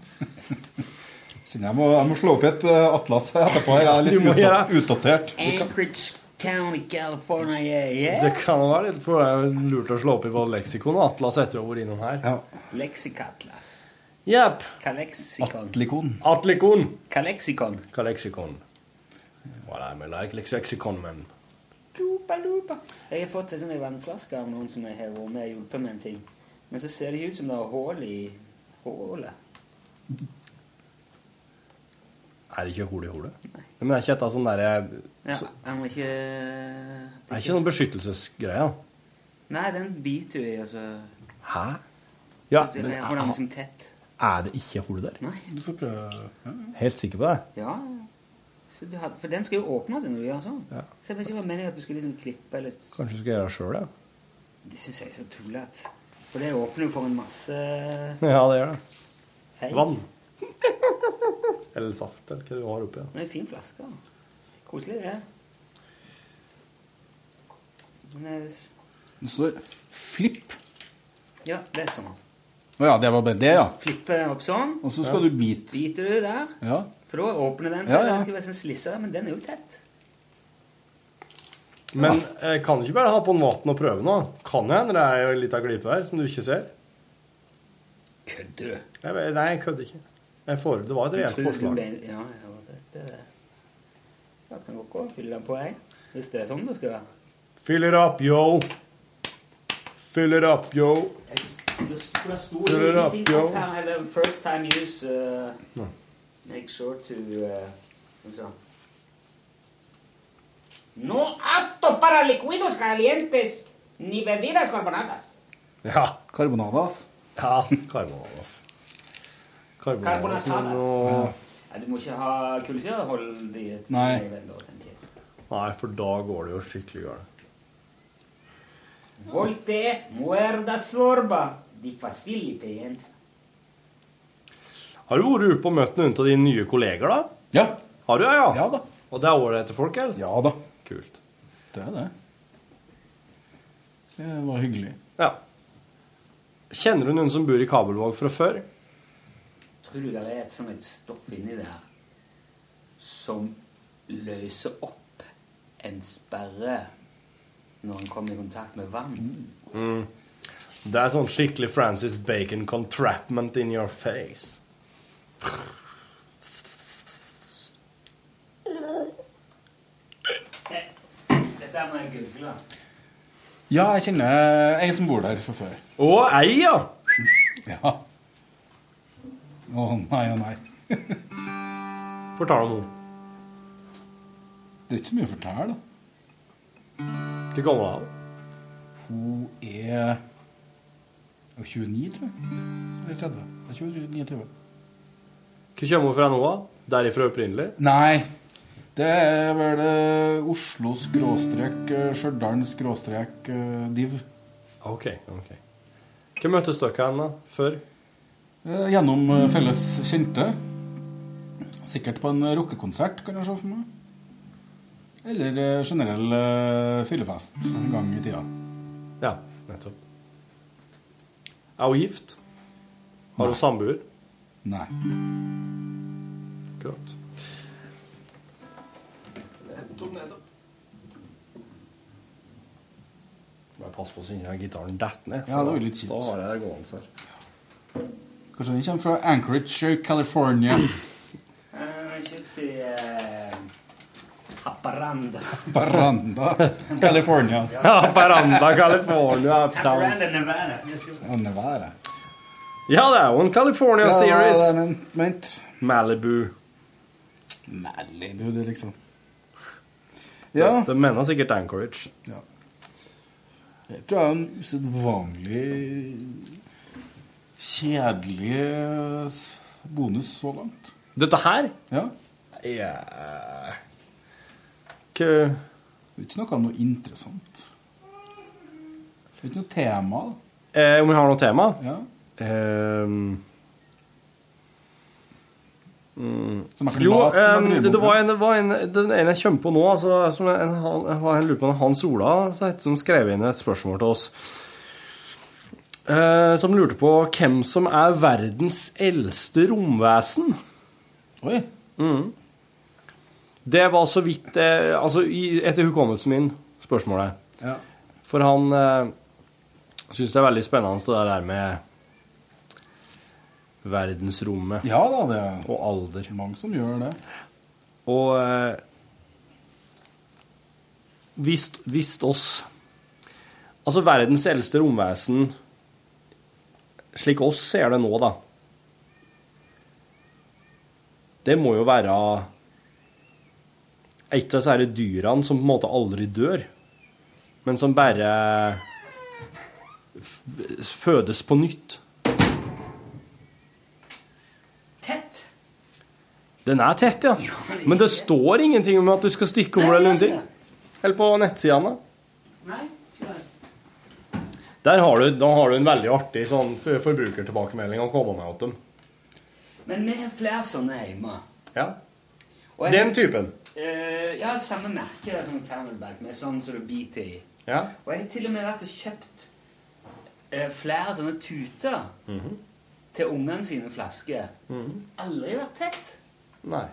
S15: (laughs) Siden jeg, må, jeg må slå opp i et eh, atlas her etterpå. her. Jeg er
S4: Du må
S15: litt
S4: gjøre
S15: utdat- utdatert.
S3: Eh. Anchorage County, California, yeah,
S4: Det
S3: yeah.
S4: kan være litt for det er lurt å slå opp i både leksikon og atlas etter å ha vært innom her.
S3: Leksikatlas.
S4: Jepp.
S3: Kaleksikon.
S15: Atlikon.
S4: Atlikon.
S3: Kaleksikon.
S4: Kaleksikon. Well, I'm like lexicon, men
S3: Lupa, lupa. Jeg har fått en sånn vannflaske av noen som jeg har vært med og hjulpet med en ting. Men så ser det ut som det er hull i hullet.
S4: er det ikke hole i hole? Men det er ikke et av sånn derre
S3: Ja,
S4: så-
S3: jeg må ikke...
S4: Det er ikke noen beskyttelsesgreie.
S3: Nei, den biter du i, altså.
S4: Hæ? Ja,
S3: så ser
S4: men
S3: jeg holder den liksom tett.
S4: er det ikke hole der?
S3: Nei.
S15: Du får prøve.
S4: Helt sikker på det?
S3: Ja, så du hadde, for den skal jo åpne seg når du gjør sånn.
S4: Ja.
S3: Så jeg vet ikke hva mener jeg at du skulle liksom klippe eller...
S4: Kanskje du skal gjøre det sjøl, ja.
S3: Det synes jeg er så tullet. For det åpner jo for en masse...
S4: Ja, det gjør det.
S3: Hei.
S4: Vann. Eller saft, eller hva du har oppi.
S3: Men det er en fin flaske. da. Koselig, det. Den er...
S15: Det står flipp.
S3: Ja, det er sånn.
S15: Å ja, det var bare det, ja.
S3: Flippe den opp sånn.
S15: Og så skal Ja. du bite.
S3: Biter du der,
S15: ja.
S3: for da åpner den
S15: Ja,
S3: seg.
S15: ja.
S3: Den skal være sånn slisse, men den er jo tett.
S4: Men eh, kan du ikke bare ha på maten og prøve nå? Kan jeg, når det er jo en liten glipe her som du ikke ser?
S3: Kødder du?
S4: Jeg, vet- nei, jeg kødder ikke. Jeg får, det var et reelt
S3: Du- du
S4: forslag.
S3: ble- Ja, ja, det, det, det. Ja, kan godt gå og fylle den på, jeg. Hvis det er sånn det skal være.
S4: Fill it up, yo. Fill it up, yo. Fill it up, yo.
S3: First time use uh,
S4: Ja.
S3: Make sure to uh, hva sa han? No apto para liquidos calientes ni bebidas carbonadas.
S4: Ja.
S15: Karbonadas.
S4: Ja, altså. karbonadas. Karbonadas. men
S3: Carbonatadas.
S4: nå-
S3: Nei, du må ikke ha kullsyreholdig
S4: Nei. Nei, for da går det jo skikkelig galt.
S3: Volte muerda sorba di facili pient.
S4: Har du vært oppe og møtt noen av dine nye kolleger, da?
S15: Ja.
S4: Har du, ja?
S15: Ja da.
S4: Og det er ålreite folk, eller?
S15: Ja da.
S4: Kult.
S15: Det er det. Det var hyggelig.
S4: Ja. Kjenner du noen som bor i Kabelvåg fra før?
S3: Tror du det er et sånt et stoff inni der som løser opp en sperre når en kommer i kontakt med vann?
S4: Mm. Det er sånn skikkelig Francis Bacon contrapment in your face.
S3: Dette må jeg google.
S15: Ja, jeg kjenner ei som bor der fra før.
S4: Å, ei, ja!
S15: Ja. Å nei, å (laughs) nei.
S4: Fortell om henne.
S15: Det er ikke så mye å fortelle, da.
S4: Hvor gammel er hun?
S15: Hun er er hun 29, tror jeg. Eller 30. Jeg tror hun er 29.
S4: Hvor kommer hun fra nå, da? Derifra opprinnelig?
S15: Nei. Det er vel eh, Oslo skråstrek eh, Stjørdal skråstrek eh, div.
S4: OK. ok. Hvor møttes dere hen, da? Før?
S15: Eh, Gjennom eh, felles kjente. Sikkert på en eh, rockekonsert, kan jeg se for meg. Eller eh, generell eh, fyllefest en gang i tida.
S4: Ja, nettopp. Er hun gift? Har hun samboer?
S15: Nei.
S4: Akkurat. Bare pass på så ikke den gitaren detter ned. for
S15: Ja, det var
S4: da-
S15: litt kjipt.
S4: Da har jeg det gående her.
S15: Kanskje den kommer fra Anchorage, California.
S16: Eh,
S3: Jeg kjøpte i eh, Haparanda.
S15: Baranda, California.
S4: (laughs) Ja, Baranda, California, uptowns.
S3: Haparanda, Nevada.
S15: Annet været.
S4: Ja, det er jo en California
S15: Ja,
S4: Series.
S15: det er ment.
S4: Malibu.
S15: Malibu, det, liksom.
S4: Ja. De mener sikkert Anchorage.
S15: Ja. Det tror jeg er en usedvanlig kjedelig bonus så langt.
S4: Dette her?
S15: Ja.
S4: Ja
S15: Det er ikke noe, noe interessant. Det er ikke noe tema. da.
S4: eh, Om vi har noe tema?
S15: Ja.
S4: Ehm. Mm.
S15: Som er ikke
S4: Jo,
S15: mat, som er
S4: ehm,
S15: brødmat,
S4: det, det var
S15: ja.
S4: en, det var en, den ene jeg kommer på nå, altså, som en, han- han- jeg lurer på om det er Hans Ola så heter det, som skrev inn et spørsmål til oss. Eh, som lurte på hvem som er verdens eldste romvesen.
S15: Oi.
S4: Mm. Det var så vidt eh, Altså, i, etter hukommelsen min, spørsmålet.
S15: Ja.
S4: For han eh, syns det er veldig spennende det der med verdensrommet.
S15: Ja da, det er
S4: Og alder.
S15: mange som gjør det.
S4: Og eh, visst, visst oss Altså verdens eldste romvesen slik oss ser det nå, da Det må jo være et av disse dyrene som på en måte aldri dør, men som bare f- fødes på nytt.
S16: Tett.
S4: Den er tett, ja. Men det står ingenting om at du skal stikke over det eller noen ting. Eller på nettsidene.
S16: Nei.
S4: Der har du, da har du en veldig artig sånn for- forbrukertilbakemelding å komme med åt dem.
S16: Men vi har flere sånne hjemme.
S4: Ja.
S16: Og jeg-
S4: Den typen.
S16: Eh, ja, samme merke. Det er sånn camelback med sånn som du biter i.
S4: Ja.
S16: Og jeg har til og med vært og kjøpt eh, flere sånne tuter til ungene sine flasker.
S4: Mhm.
S16: Aldri vært tett.
S4: Nei.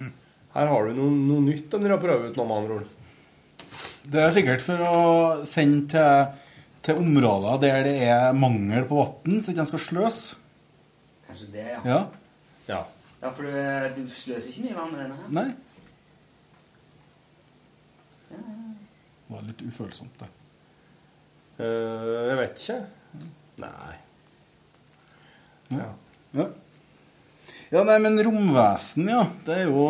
S4: Her har du noe, noe nytt de har prøvd ut nå, med andre ord.
S15: Det er sikkert for å sende til, til områder der det er mangel på vann, så ikke de skal sløse.
S16: Kanskje det, ja.
S15: Ja.
S4: Ja,
S16: Ja, for du, du sløser ikke mye vann med denne her.
S15: Nei. Det var litt ufølsomt, det.
S4: Eh, jeg vet ikke. Nei.
S15: Ja. ja. Ja, nei, men romvesen, ja. Det er jo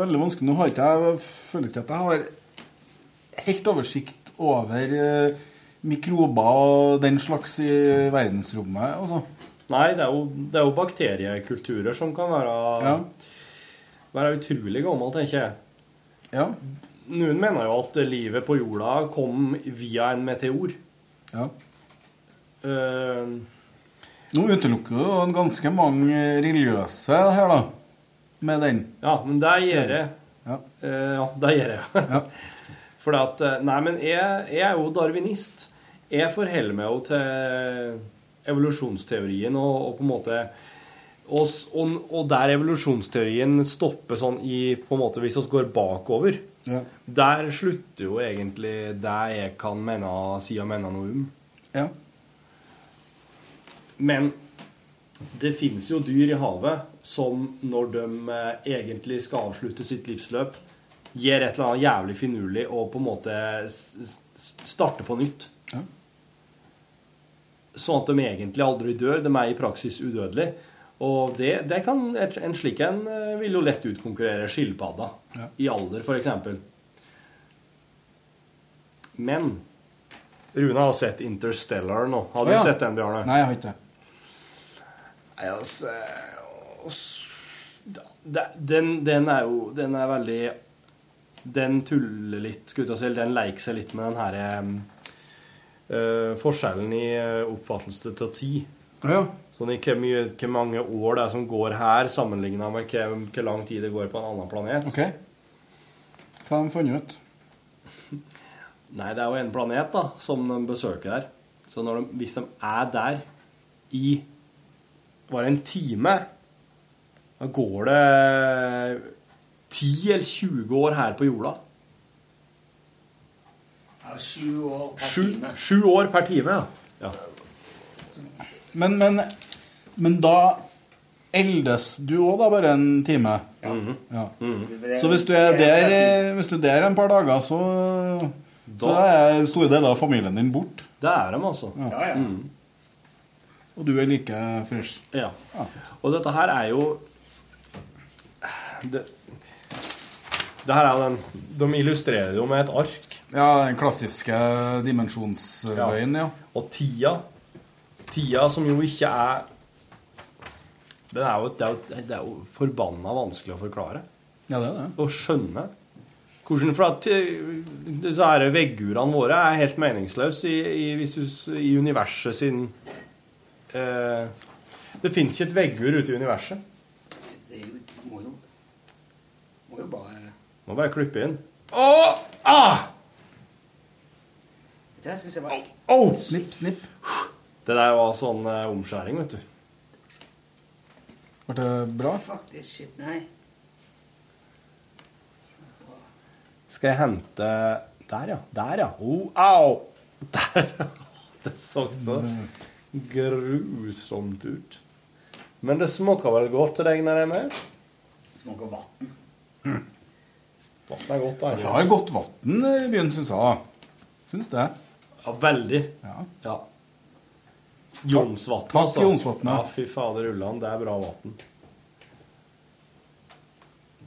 S15: veldig vanskelig. Nå har ikke jeg jeg føler ikke at jeg har helt oversikt over eh, mikrober og den slags i verdensrommet, altså.
S4: Nei, det er jo, det er jo bakteriekulturer som kan være, være utrolig gamle, tenker jeg.
S15: Ja.
S4: Noen mener jo at livet på jorda kom via en meteor.
S15: Ja.
S4: Eh,
S15: Nå utelukker du jo en ganske mange eh, religiøse her, da. Med den.
S4: ja, men det gjør jeg.
S15: Ja.
S4: Eh, ja, det gjør jeg. For at eh, Nei, men jeg, jeg er jo darwinist. Jeg forholder meg jo til evolusjonsteorien og, og på en måte og, s- og, og der evolusjonsteorien stopper sånn i på en måte Hvis vi går bakover,
S15: Ja.
S4: der slutter jo egentlig det jeg kan mene, si og mene noe om.
S15: Ja.
S4: Men det finnes jo dyr i havet som når de eh, egentlig skal avslutte sitt livsløp, gjør et eller annet jævlig finurlig og på en måte s- s- starter på nytt.
S15: Ja.
S4: Sånn at de egentlig aldri dør. De er i praksis udødelige. Og det, det kan, et- en slik en eh, vil jo lett utkonkurrere skilpadda
S15: Ja.
S4: i alder, f.eks. Men Rune har sett Interstellar nå. Har du
S15: Å, ja.
S4: sett den, Bjarne?
S15: Nei, jeg har ikke det.
S4: Nei, altså eh, oss- da- da- den, den er jo Den er veldig Den tuller litt, skulle jeg til å si. eller Den leker seg litt med den her eh, eh, forskjellen i eh, oppfattelse til tid.
S15: Ja.
S4: Sånn i hvor, mye, hvor mange år det er som går her, sammenligna med hvor, hvor lang tid det går på en annen planet.
S15: Ok. Hva har de funnet ut?
S4: Nei, det er jo en planet da, som de besøker der. Så når de, hvis de er der i bare en time, da går det 10 eller 20 år her på jorda.
S16: Ja, sju år per
S4: Sju,
S16: time.
S4: sju år per time, ja. ja.
S15: Men, men, men da eldes du òg, da, bare en time? Ja.
S4: Mhm.
S15: Så hvis du er der, eh, hvis du er der en par dager, så, så er store deler av familien din borte.
S4: Det er de, altså.
S15: Ja, ja.
S4: Mm.
S15: Og du er like fresh.
S4: Ja. Og dette her er jo det, det her er jo den De illustrerer jo med et ark.
S15: Ja, den klassiske dimensjonsbøyen, ja.
S4: Og tida. Tida som jo ikke er den er jo, Det er jo, det er jo forbanna vanskelig å forklare.
S15: Ja, det er det.
S4: Å skjønne. Hvordan, for at eh, disse her veggurene våre er helt meningsløse i, i, hvis du s- i universet sin eh, Det fins ikke et veggur ute i universet.
S3: Det er jo, må jo Må jo bare
S4: Må bare klippe inn.
S3: Åh!
S4: Ah!
S3: Det syns jeg var
S4: Oh!
S15: Snipp, snipp.
S4: Det der var sånn eh, omskjæring, vet du.
S15: Ble det bra?
S3: Fuck this shit, nei.
S4: Skal jeg hente Der, ja. Der, ja. Oh, au! Der, ja. Det så så grusomt ut. Men det smaker vel godt, regner jeg med?
S3: Smaker vann.
S4: Vann er godt, da.
S15: Vi har godt vann i byen, syns jeg. Syns det.
S4: Ja, veldig.
S15: Ja.
S4: ja. Jonsvatn, altså.
S15: Takk, Jonsvatn, ja.
S4: Ja, fy fader ullan, det er bra vann.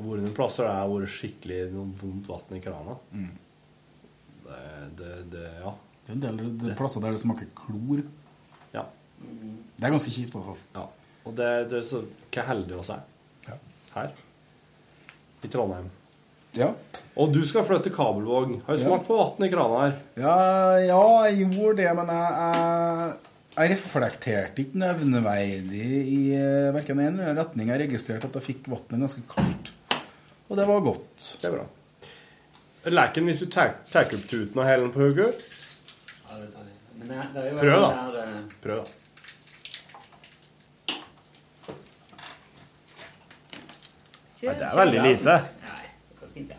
S4: Hvor noen plasser det har vært skikkelig noe vondt vann i krana.
S15: Mm.
S4: Det, det, det, ja.
S15: Det er en del det er plasser der det smaker klor.
S4: Ja.
S15: Det er ganske kjipt, altså.
S4: Ja. Og det, det er så Hva heldige oss er. Her. I Trondheim.
S15: Ja.
S4: Og du skal flytte til Kabelvåg. Har du
S15: Ja.
S4: smakt på vann i krana her?
S15: Ja, ja, jeg gjorde det, men jeg, jeg, jeg reflekterte ikke nevneverdig i eh, hverken en eller annen retning. Jeg registrerte at jeg fikk vannet ganske kaldt. Og det var godt.
S4: Det er bra. Leken hvis du tar tar opp tuten og hælen på hodet.
S3: Ja, det tar jeg. Men det, det er jo den
S4: Prøv, da.
S3: der, eh,
S4: Prøv, da. Nei, det er veldig lite.
S3: Nei, det går fint, det.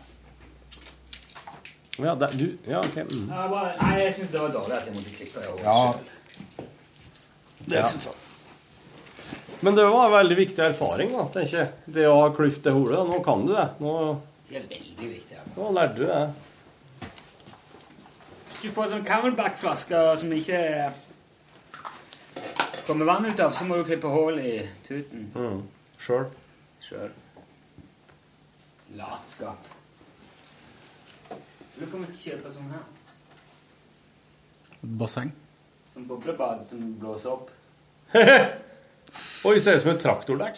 S4: Ja, det, du, ja ok. Mm.
S3: Ja, bare- Nei, jeg syns det var dårlig at jeg måtte klippe det. over selv.
S4: Det syns jeg. Men det var en veldig viktig erfaring, da, tenker jeg. Det å ha klyft det hodet. Nå kan du det. Nå,
S3: Det er veldig viktig. ja.
S4: nå lærte du det.
S3: Hvis du får sånn Camelback-flasker som ikke kommer vann ut av, så må du klippe hull i tuten.
S4: Mm. Sjøl.
S3: Sjøl. Latskap. Lurer på om vi skal kjøpe sånn her.
S15: Basseng.
S3: Sånn boblebad som blåser opp.
S4: Oi, ser ut som et traktordekk.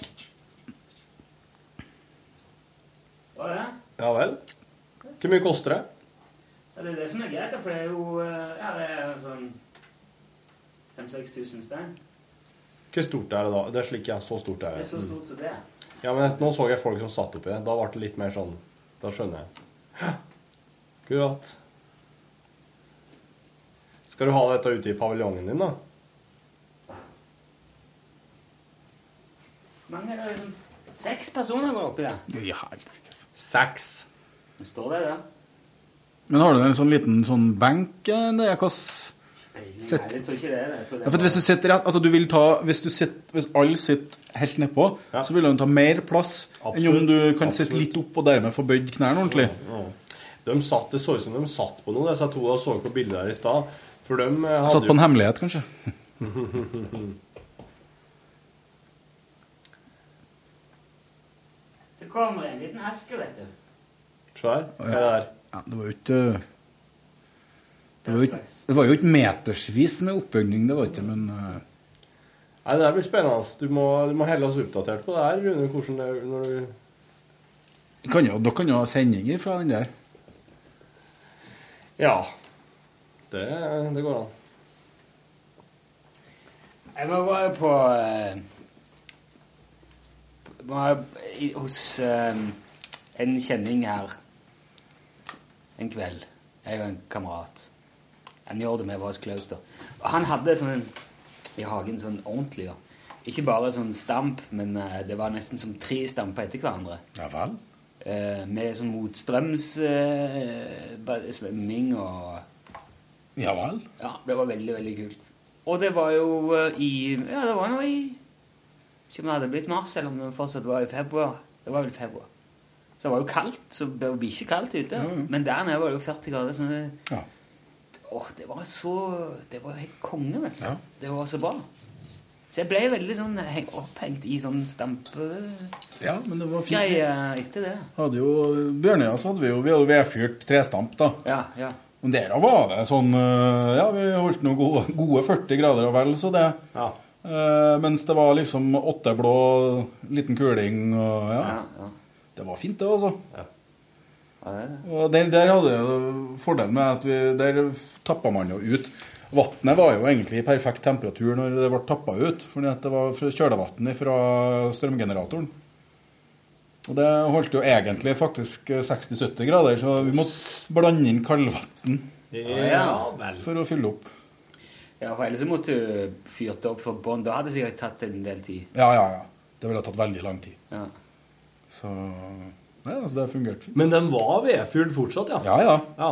S3: Hva er det?
S4: Ja vel. Hvor mye koster det?
S3: Ja, det er det som er greit, da, for det er jo eh, Ja, det er sånn 5000-6000 spenn.
S4: Hvor stort er det da? Det er slik jeg så stort er
S3: Det
S4: det.
S3: er så stort som det.
S4: Mm. Ja, men jeg- nå så jeg folk som satt oppi det. Da ble det litt mer sånn Da skjønner jeg. Akkurat. Skal du ha dette ute i paviljongen din, da?
S3: Mange er det liksom Seks personer går oppi der.
S15: Ja, helsike.
S4: Seks.
S3: Det står det, da.
S15: Men har du en sånn liten sånn benk eh, nede? Hvordan
S3: Nei, jeg tror ikke det er det. Jeg tror det
S15: Ja, for at hvis du sitter rett, altså du vil ta, hvis, du sitter, hvis alle sitter helt nedpå, så vil de ta mer plass enn om
S4: Absolutt,
S15: du kan sitte litt opp og dermed få bøyd knærne ordentlig.
S4: Ja. De satt, det så ut som de satt på noe, disse to og så på bildet her i stad. For de eh, hadde
S15: Satt på en
S4: jo-
S15: hemmelighet, kanskje.
S3: Det kommer en liten eske, vet du.
S4: Se her.
S15: Ja.
S4: Her er det.
S15: Ja, det var jo ikke eh, Det var jo ikke, det var jo ikke metersvis med oppbygning, det var ikke, men eh,
S4: Nei, det der blir spennende. Du må, du må helle oss oppdatert på det her, Rune. Hvordan det, når du
S15: det kan jo, dere kan jo ha sendinger fra den der.
S4: Ja. Det, det går an.
S3: Jeg var bare på eh, var i, hos eh, en kjenning her en kveld. Jeg og en kamerat. En gjorde det med vårt Klauster. Og han hadde sånn en- i hagen sånn ordentlig, da. Ikke bare sånn stamp, men eh, det var nesten som tre stamper etter hverandre.
S15: Ja vel?
S3: Eh, med sånn motstrømssvømming og
S15: Ja vel?
S3: Ja, det var veldig, veldig kult. Og det var jo eh, i Ja, det var nå i Ikke om det hadde blitt mars, eller om det fortsatt var i februar. Det var vel februar. Så det var jo kaldt, så det ble ikke kaldt ute. Men der nede var det jo 40 grader. Så det,
S15: Ja.
S3: Åh, det var så Det var helt konge, vet du. Det var så bra. Så Så jeg ble veldig sånn heng- opphengt i sånn stampe...
S15: Ja, men det var fint.
S3: Greier etter det.
S15: Hadde jo, Bjørnøya så hadde vi jo vi hadde jo vedfyrt trestamp, da.
S3: Ja, ja.
S15: Men der da var det sånn eh, Ja, vi holdt nå gode, gode 40 grader og vel, så det. Eh, mens det var liksom åtte blå, liten kuling og ja. Det var fint, det, altså. Og der, der hadde jeg fordelen med at vi, der tappa man jo ut. Vannet var jo egentlig i perfekt temperatur når det ble tappa ut, fordi at det var fra kjølevann fra strømgeneratoren. Og det holdt jo egentlig faktisk 60-70 grader, så vi måtte blande inn kaldvann
S3: Ja, vel.
S15: for å fylle opp.
S3: Ja, for ellers så måtte du fyrt opp for bånd. Da hadde det sikkert tatt en del tid.
S15: Ja, ja, ja. Det ville tatt veldig lang tid.
S3: Ja.
S15: Så Nei, altså, det fungerte fint.
S4: Men den var vedfyrt fortsatt, ja?
S15: Ja, ja.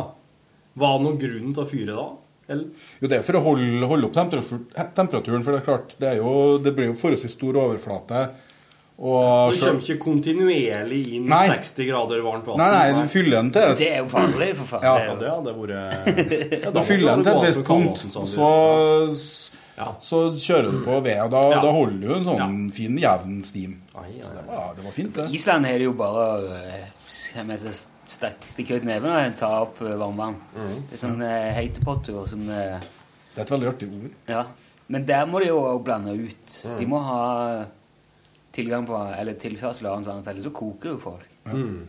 S4: Var det noen grunn til å fyre da? Eller?
S15: Jo, det er for å holde, holde opp temperatur- temperaturen, for det er klart, det, er jo, det blir jo forholdsvis stor overflate.
S4: Du
S15: Og selv-
S4: kommer ikke kontinuerlig inn
S15: Nei.
S4: 60 grader varmt vann?
S15: Nei, nei, du fyller den til
S4: Det er jo farlig, for faen. Ja.
S15: Ja.
S4: det hadde vært (laughs) Ja,
S15: Du
S4: da
S15: fyller
S4: måtte du
S15: den til et
S4: gå
S15: visst
S4: av på
S15: punkt,
S4: kaldvann, sa
S15: så, så kjører du på ved, og da,
S3: Ja.
S15: da holder du en sånn fin, jevn stim. Så det var, det var fint,
S3: På
S15: det.
S3: Island er det jo bare eh, å stikke ut neven og ta opp eh, varmvann.
S15: Mhm.
S3: Det er sånn eh, heitepottur som eh,
S15: Det er et veldig artig ord.
S3: Ja. Men der må de jo også blande ut.
S15: Mhm.
S3: De må ha tilgang på Eller tilførsel av annet vann, for ellers så koker jo folk.
S4: Ja. Mhm,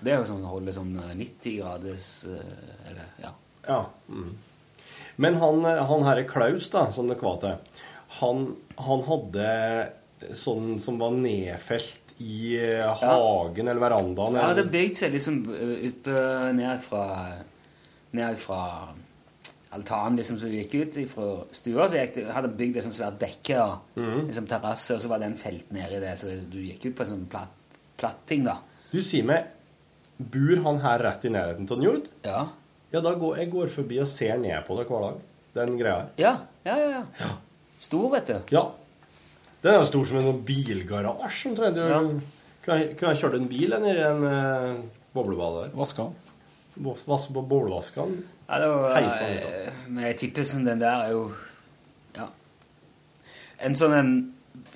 S3: Det er jo sånn å holde sånn eh, 90 graders eh, Eller ja.
S4: Ja. Mm. Men han, han herre Klaus, da, som det kva til, han, han hadde sånn som var nedfelt i eh, hagen eller verandaen.
S3: Ja, det
S4: eller-
S3: bygde seg liksom eh, opp eh, ned fra Ned fra altanen liksom som gikk ut fra stua. Så gikk det, hadde han bygd et sånt svært dekke og
S4: Mhm.
S3: liksom terrasse, og så var det en felt nedi det, så du gikk ut på en sånn platt, platt ting, da.
S4: Du sier meg, bor han her rett i nærheten av Njord?
S3: Ja.
S4: Ja, da går jeg går forbi og ser ned på det hver dag. Den greia her.
S3: Ja, ja, ja. ja. Stor, vet du.
S4: Ja. Den er jo stor som en sånn bilgarasje, omtrent. Ja. Kunne jeg- kunne jeg kjørt en bil ned i den eh, boblebad der?
S15: Vaska
S4: Vaske på boblevaskene?
S3: Ja, det var,
S4: Heisa ut
S3: eh, Men jeg tipper som den der er jo Ja. En sånn en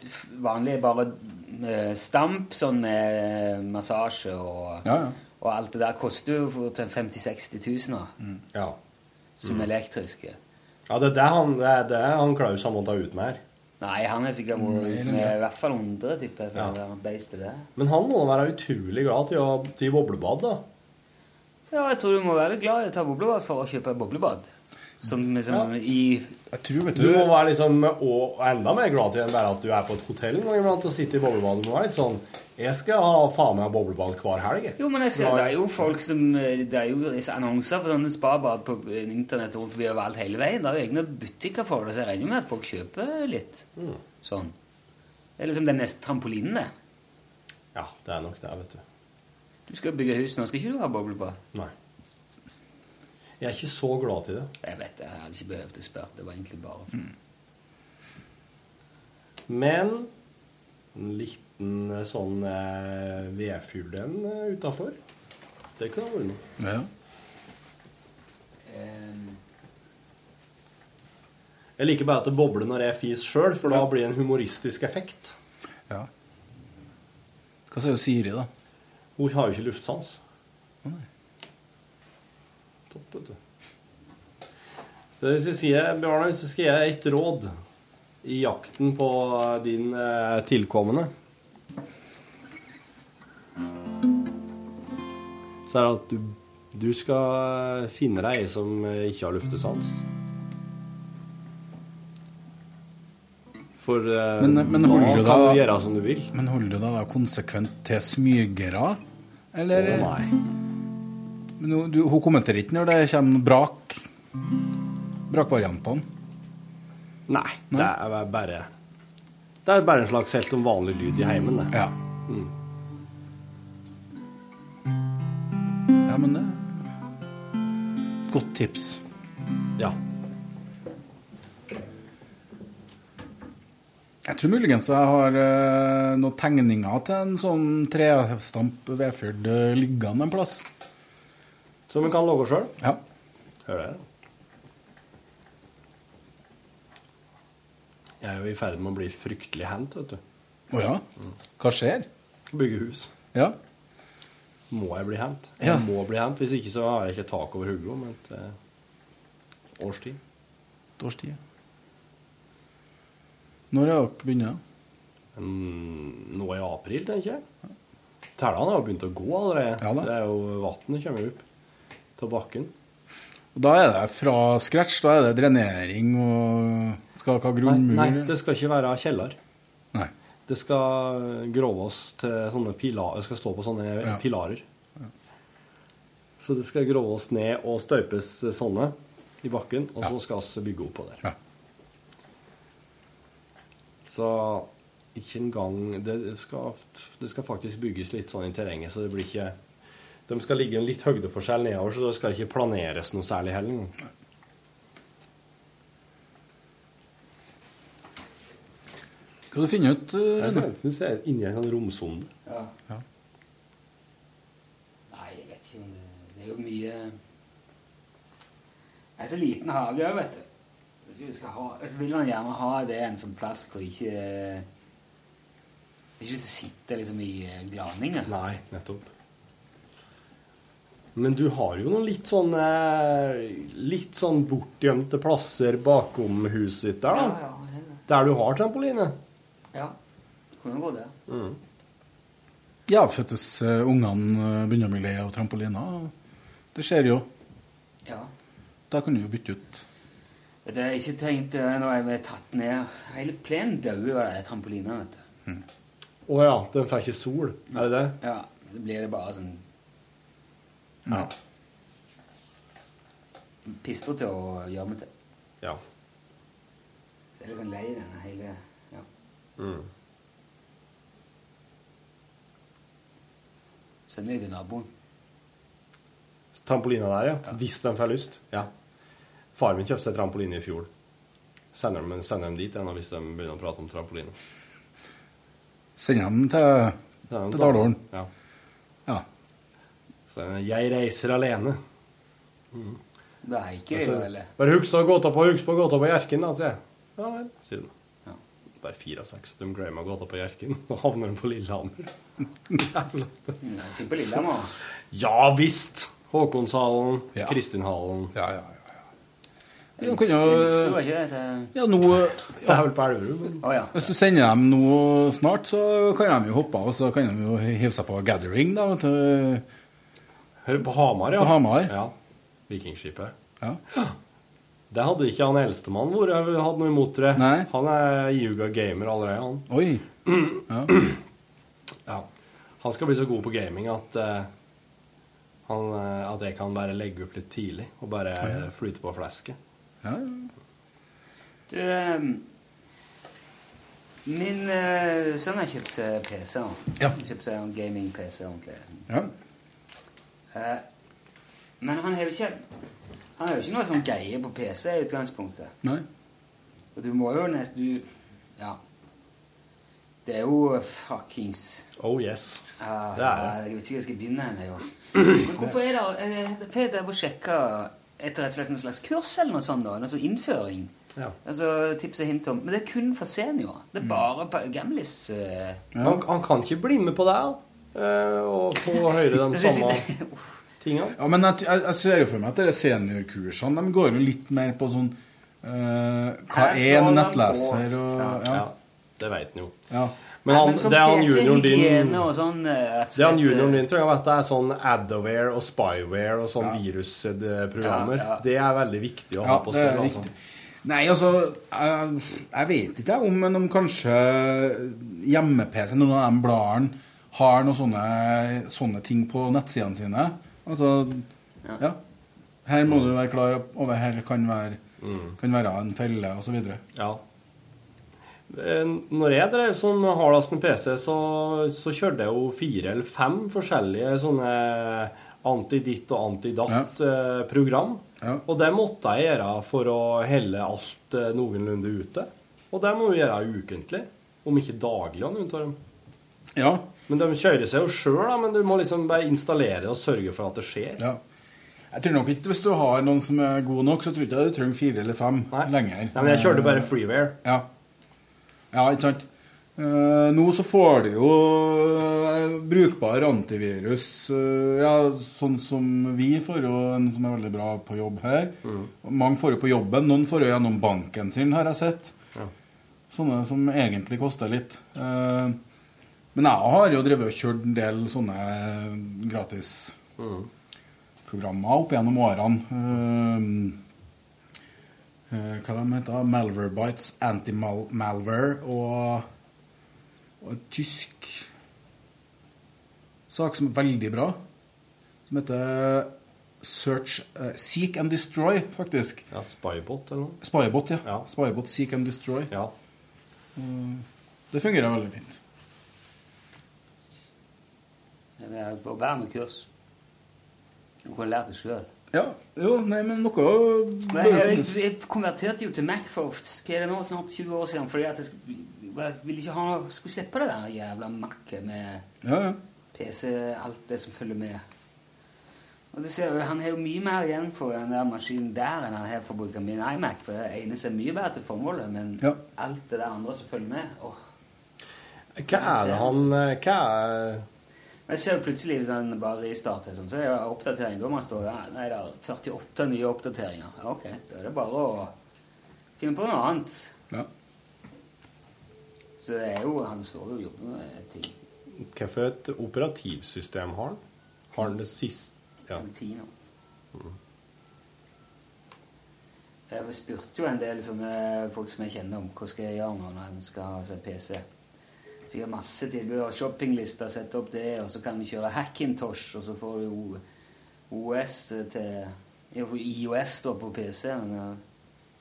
S3: f- vanlig bare eh, stamp, sånn eh, massasje og,
S15: Ja, ja.
S3: og alt det der koster jo for til 50 000-60 000 da,
S4: Ja.
S3: som
S4: Mm.
S3: elektriske.
S4: Ja, det er det han, det er det han Klaus har måttet ut med her.
S3: Nei, han er sikkert vært
S4: Mer
S3: ut
S4: enn
S3: med
S4: det.
S3: i hvert fall 100, tipper jeg, for
S4: Ja.
S3: å være beist til det.
S4: Men han må da være utrolig glad til, å, til boblebad, da.
S3: Ja, jeg tror du må være litt glad i å ta boblebad for å kjøpe boblebad. Som, som i
S4: du, må være liksom og enda mer glad til enn bare at du er på et hotell en gang iblant og sitter i boblebad. Du må være litt sånn Jeg skal ha faen meg boblebad hver helg. jeg.
S3: Jo, men jeg ser,
S4: Glad i-
S3: det er jo folk som eh, Det er jo disse annonser for sånne spabad på eh, internett rundt vi overalt hele veien. Det er jo egne butikker for det, så jeg regner med at folk kjøper litt.
S4: Mm.
S3: Sånn. Det er liksom den neste trampolinen, det.
S4: Ja, det er nok det, vet du.
S3: Du skal jo bygge hus nå, skal ikke du ha boblebad?
S4: Nei. Jeg er ikke så glad til det.
S3: Jeg vet det, jeg hadde ikke behøvd å spørre. Det var egentlig bare for-
S4: Men en liten eh, sånn eh, vedfugl den eh, utafor, det kunne vært noe.
S15: Ja.
S3: Ehm,
S4: Jeg liker bare at det bobler når jeg fis sjøl, for da blir det en humoristisk effekt.
S15: Ja. Hva sier Siri, da?
S4: Hun har jo ikke luftsans. Topp, vet du. Så hvis jeg sier, Bjarne, så skal jeg gi et råd i jakten på din eh, tilkommende. Så er det at du, du skal eh, finne deg ei som eh, ikke har luftesans. For eh,
S15: Men, men
S4: da
S15: holder du
S4: kan
S15: da-
S4: du gjøre som du vil.
S15: Men holder du deg da konsekvent til smygere? Eller?
S4: Å, nei.
S15: Men hun- du, hun kommenterer ikke når det kommer brak? Brakvariantene?
S4: Nei, det er bare Det er bare en slags helt om vanlig lyd i heimen, det.
S15: Ja.
S4: Mm.
S15: Ja, men det Godt tips.
S4: Ja.
S15: Jeg tror muligens jeg har eh, noen tegninger til en sånn trestamp vedfyrt eh, liggende en plass.
S4: Som en kan lage sjøl?
S15: Ja.
S4: Hør det. Jeg er jo i ferd med å bli fryktelig hent, vet du.
S15: Å ja? Hva skjer?
S4: Bygge hus.
S15: Ja.
S4: Må jeg bli hent?
S15: Ja.
S4: Jeg må bli hent. Hvis ikke så har jeg ikke tak over hodet om et eh, års tid.
S15: Et års tid. Når har dere begynt?
S4: Mm, Nå i april, tenker jeg. Tellene har jo begynt å gå allerede. det er jo vannet kommer jo opp av bakken.
S15: Og Da er det fra scratch? Da er det drenering og Skal dere ha grunnmur?
S4: Nei, det skal ikke være kjeller.
S15: Nei.
S4: Det skal groves til sånne pilarer. Det skal stå på sånne pilarer. Så det skal groves ned og støpes sånne i bakken, og så skal vi bygge oppå der. Så ikke engang det skal, det skal faktisk bygges litt sånn i terrenget, så det blir ikke De skal ligge en litt høydeforskjell nedover, så det skal ikke planeres noe særlig heller. engang.
S15: Skal du finne ut eh,
S4: Jeg
S15: Rune?
S4: ser ut som du ser inni en sånn romsonde.
S3: Ja.
S15: Ja.
S3: Nei, jeg vet ikke om det Det er jo mye Det er så liten hage òg, vet du. Hvis du skal ha, så vil han gjerne ha det en sånn plass hvor ikke Ikke du sitter liksom i eh, glaninger.
S4: Nei, nettopp. Men du har jo noen litt sånne litt sånn bortgjemte plasser bakom huset ditt der,
S3: Ja,
S4: da.
S3: ja, henne.
S4: Der du har trampoline.
S3: ja. Du kunne gå der.
S4: Mm.
S15: Ja, fødtes eh, ungene eh, begynner å bli lei av trampoliner. og Det skjer jo.
S3: Ja.
S15: Da kan du jo bytte ut.
S3: Vet du, jeg har ikke tenkt eh, når jeg ble tatt ned Hele plenen døde av de trampolinene, vet du.
S4: Å ja, den får ikke sol, er det det?
S3: Ja, Da blir det bare sånn
S4: Ja.
S3: pister til å gjøre meg til.
S4: Ja.
S3: Så jeg er litt sånn lei denne hele ja.
S4: Mm.
S3: Send meg til naboen.
S4: Trampolina der, ja. Hvis de får lyst. Ja. Faren min kjøpte seg trampoline i fjor. Sender dem, sender dem dit ennå hvis de begynner å prate om trampoline.
S15: Sende dem til, til Dalålen.
S4: Ja.
S15: Ja.
S4: Så, jeg reiser alene. Mm.
S3: Det er ikke
S4: Altså,
S3: det, eller?
S4: Bare husk å gåta på, husk på gåta på jerken, da, sier jeg. Ja vel, sier hun. Bare fire av seks. De glemmer gåta på jerken, (laughs) og havner de på (laughs) Lillehammer.
S3: Tenk på mm, Lillehammer.
S4: ja visst! Håkonshallen, Kristinhallen. Ja, ja, ja.
S15: Du kan jo
S3: Elvestuen, er ikke det? det?
S15: Ja, nå
S4: Det er vel på Elverum. men-
S3: Å ja.
S15: Hvis du sender dem nå snart, så kan de jo hoppe av, og så kan de jo hive seg på gathering, da. Vet du.
S4: På Hamar, ja.
S15: På Hamar.
S4: Ja. Vikingskipet.
S15: Ja.
S4: Det hadde ikke han eldstemann vært. Jeg hadde noe imot det. Han er juga gamer allerede, han.
S15: Oi.
S4: Mm. Ja. Han skal bli så god på gaming at eh, han, eh, at jeg kan bare legge opp litt tidlig og bare eh, flyte på flasket.
S3: Du ehm, Min eh, sønn har kjøpt seg PC. nå. Han Kjøpt seg en gaming-PC ordentlig.
S15: Ja.
S3: Eh, men han har jo ikke Han har jo ikke noe sånn greie på PC i utgangspunktet.
S15: Nei.
S3: Og du må jo nesten du, Ja. Det er jo fuckings
S4: Oh yes.
S3: Ah,
S4: Det er det.
S3: Jeg vet ikke hvor jeg skal begynne hen. jeg, altså. jo. Men hvorfor er det eh, For jeg drev og sjekka etter et slags, en slags kurs eller noe sånt. da, en sånn innføring.
S4: Ja. Mm.
S3: Altså, tips og hint om Men det er kun for seniorer. Det er bare på gamlis eh.
S4: Han, han kan ikke bli med på det, da. Eh, og få høre
S15: (laughs)
S4: de
S3: Jeg synes
S4: samme
S3: (laughs)
S4: tinga.
S15: Ja, men jeg, jeg, jeg ser jo for meg at de seniorkursene de går jo litt mer på sånn eh, Hva
S4: Her
S15: er
S4: slår
S15: en
S4: de
S15: nettleser
S4: på.
S15: og
S4: Ja,
S15: Ja.
S4: ja. Det veit han jo.
S15: ja.
S4: Men han,
S3: sånn
S4: det er han junioren din
S3: PC-hygiene Og sånn, eh, at
S4: Det han
S3: slett,
S4: junioren
S3: eh,
S4: din trenger å vite, er sånn Adaware og Spyware og sånn virusprogrammer.
S15: Ja, ja.
S4: Det er veldig viktig å
S15: Ja,
S4: ha på
S15: det er
S4: stell. Altså.
S15: riktig. Nei, altså Jeg, jeg vet ikke jeg, om men om kanskje hjemme-PC, noen av de bladene, har noen sånne, sånne ting på nettsidene sine. Altså Ja. Her
S4: Mm.
S15: må du være klar over her kan være, kan være en felle, osv.
S4: Ja. Eh, Når jeg drev som hardest med PC, så, så kjørte jeg jo fire eller fem forskjellige sånne anti-ditt og anti-datt-program. Og det måtte jeg gjøre for å helle alt eh, noenlunde ute. Og det må vi gjøre ukentlig. Om ikke daglig, han unntar dem.
S15: Ja.
S4: Men de kjører seg jo sjøl, da. Men du må liksom bare installere det og sørge for at det skjer.
S15: Ja. Jeg tror nok ikke Hvis du har noen som er god nok, så tror jeg ikke du trenger fire eller fem lenger. Mm.
S4: Nei, men jeg kjørte bare freeware.
S15: Ja. Ja, ikke sant. Eh, nå så får du jo eh, brukbar antivirus. eh, ja, sånn som vi får jo en som er veldig bra på jobb her. Mange får jo på jobben, noen får jo gjennom banken sin, har jeg sett. Sånne som egentlig koster litt. Eh, men jeg har jo drevet og kjørt en del sånne
S4: Mm.
S15: gratisprogrammer opp gjennom årene. Eh, eh, hva de heter Malware Bites, Anti-Malware og, og en tysk sak som er veldig bra, som heter Search eh, Seek and Destroy, faktisk.
S4: Ja, Spybot eller noe?
S15: Spybot, ja. Spybot Seek and Destroy. Mm, Det fungerer veldig fint.
S3: Det er å være med kurs. Du kunne lært det sjøl.
S4: Mm.
S15: Ja, jo, nei, men noe
S3: Men Jeg, jeg, jeg konverterte jo til Mac for hva er det nå, snart 20 år siden fordi at jeg sk- jeg ville ikke ha noe, skulle slippe det der jævla Mac-et med
S15: Ja, ja.
S3: PC, alt det som følger med. Og det ser jo, Han har jo mye mer igjen for den der maskinen der enn han har for å bruke min iMac. for Det ene ser mye bedre til formålet, men alt det der andre som følger med åh.
S4: Hva er det han eh, Hva er
S3: Men Jeg ser jo plutselig hvis han bare restarter, sånn, så er det jo oppdatering. Da man står ja, nei, det er 48 nye oppdateringer. Ja, Ok, da er det bare å finne på noe annet.
S15: Ja.
S3: Så det er jo Han står jo og jobber med ting.
S4: Hva for et operativsystem har han? Har han det siste Ja.
S3: Tino. Jeg spurte jo en del sånne folk som jeg kjenner om hva skal jeg gjøre nå når han skal ha seg PC. Fikk jeg masse tilbud av shoppinglister, sette opp det, og så kan du kjøre Hackintosh, og så får du O- OS til ja, for IOS da på PC-en. ja.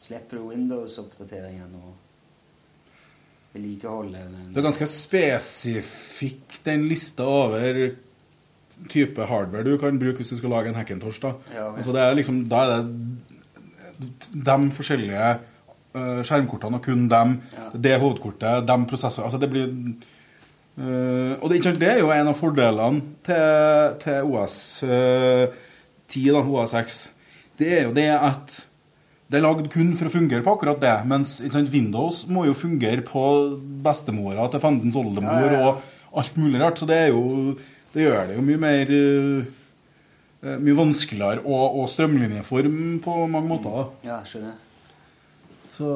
S3: Slipper du Windows-oppdateringene og vedlikeholdet. men-
S15: Det er ganske spesifikk den lista over type hardware du kan bruke hvis du skal lage en Hackintosh. Da,
S3: Ja, ja.
S15: altså det er liksom, da er det de forskjellige eh, skjermkortene og kun dem. Det er hovedkortet, dem prosessor altså det blir, eh, Og det, ikke sant, det er jo en av fordelene til, til OS eh, 10, da, OS X. Det er jo det at det er lagd kun for å fungere på akkurat det, mens ikke sant, Windows må jo fungere på bestemora til fandens oldemor
S4: Ja, ja, ja.
S15: og alt mulig rart. Så det, er jo, det gjør det jo mye mer eh, eh, Mye vanskeligere å, å strømlinjeform på mange måter. da.
S3: Ja, skjønner.
S15: Så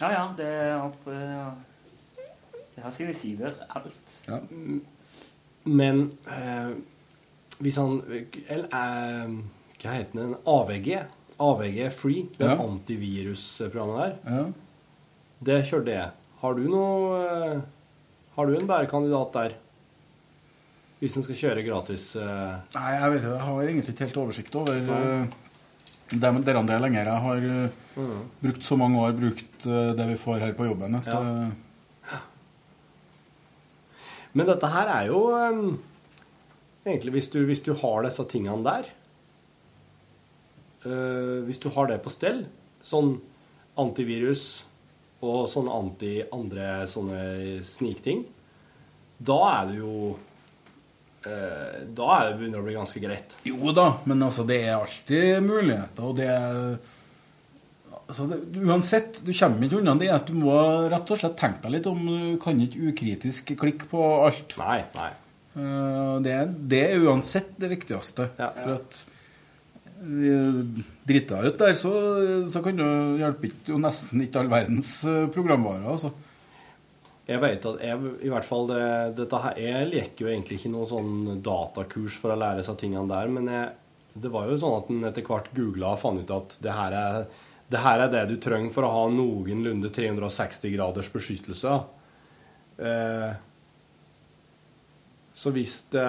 S3: Ja, ja, det er opp... eh, Det har sine sider, alt.
S4: Men eh, hvis han Eller eh, hva heter den? AVG. AVG Free. Det
S15: Ja.
S4: antivirusprogrammet der.
S15: ja.
S4: Det kjørte jeg. Har du noe eh, Har du en bærekandidat der? Hvis en skal kjøre gratis eh,
S15: Nei, jeg vet ikke. Jeg har egentlig ikke helt oversikt over
S4: Nei.
S15: eh, det med dere det er lenger. Jeg har eh,
S4: Mhm.
S15: brukt så mange år brukt eh, det vi får her på jobben. At, eh,
S4: Men dette her er jo eh, Egentlig, hvis du, hvis du har disse tingene der eh, Hvis du har det på stell, sånn antivirus og sånn anti andre sånne snikting, da er det jo eh, Da er det begynner det å bli ganske greit.
S15: Jo da, men altså, det er alltid muligheter, og det er altså, det, Uansett, du kommer ikke unna det at du må rett og slett tenke deg litt om. Du kan ikke ukritisk klikke på alt.
S4: Nei, nei.
S15: Eh, det, det er uansett det viktigste. For at eh, driter jeg ut der, så, så kan du hjelpe ikke jo nesten ikke all verdens eh, programvarer. altså.
S4: Jeg vet at jeg, i hvert fall det, dette her, Jeg leker jo egentlig ikke noen sånn datakurs for å lære seg tingene der, men jeg, det var jo sånn at en etter hvert googla og fant ut at det her er det, her er det du trenger for å ha noenlunde 360 graders beskyttelse. Eh, så hvis det,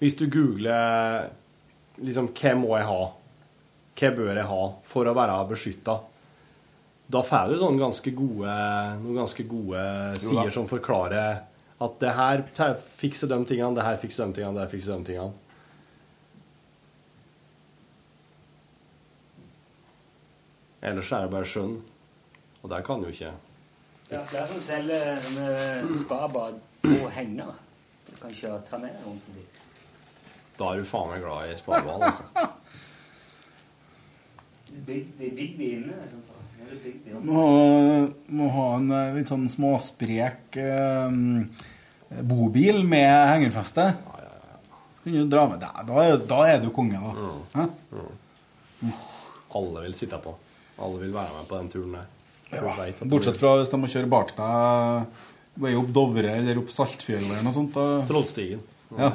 S4: Hvis du googler liksom Hva må jeg ha? Hva bør jeg ha for å være beskytta? da får du sånn ganske gode, noen ganske gode
S15: Jo da.
S4: sider som forklarer at det her te- fikser de tingene, det her fikser de tingene, det her fikser de tingene. Ellers er det bare skjønn. Og der kan du ikke
S3: Det er flere som selger sånne spabad og henger. Du kan ikke ta med deg rundt forbi.
S4: Da er du faen meg glad i spareball, altså.
S3: Big, det er Bigby inne. liksom. Nå er det Bigby oppe.
S15: Må, må ha en eh, litt sånn småsprek eh, bobil med hengerfeste. Kan du dra med deg? Da, er- da er du konge, da. Hæ?
S4: Alle vil sitte på. Alle vil være med på den turen der. Du vet at du
S15: Bortsett
S4: vil.
S15: fra hvis de må kjøre bak deg vei opp Dovre eller opp Saltfjell eller noe sånt. Da,
S4: Trollstigen.
S15: Ja.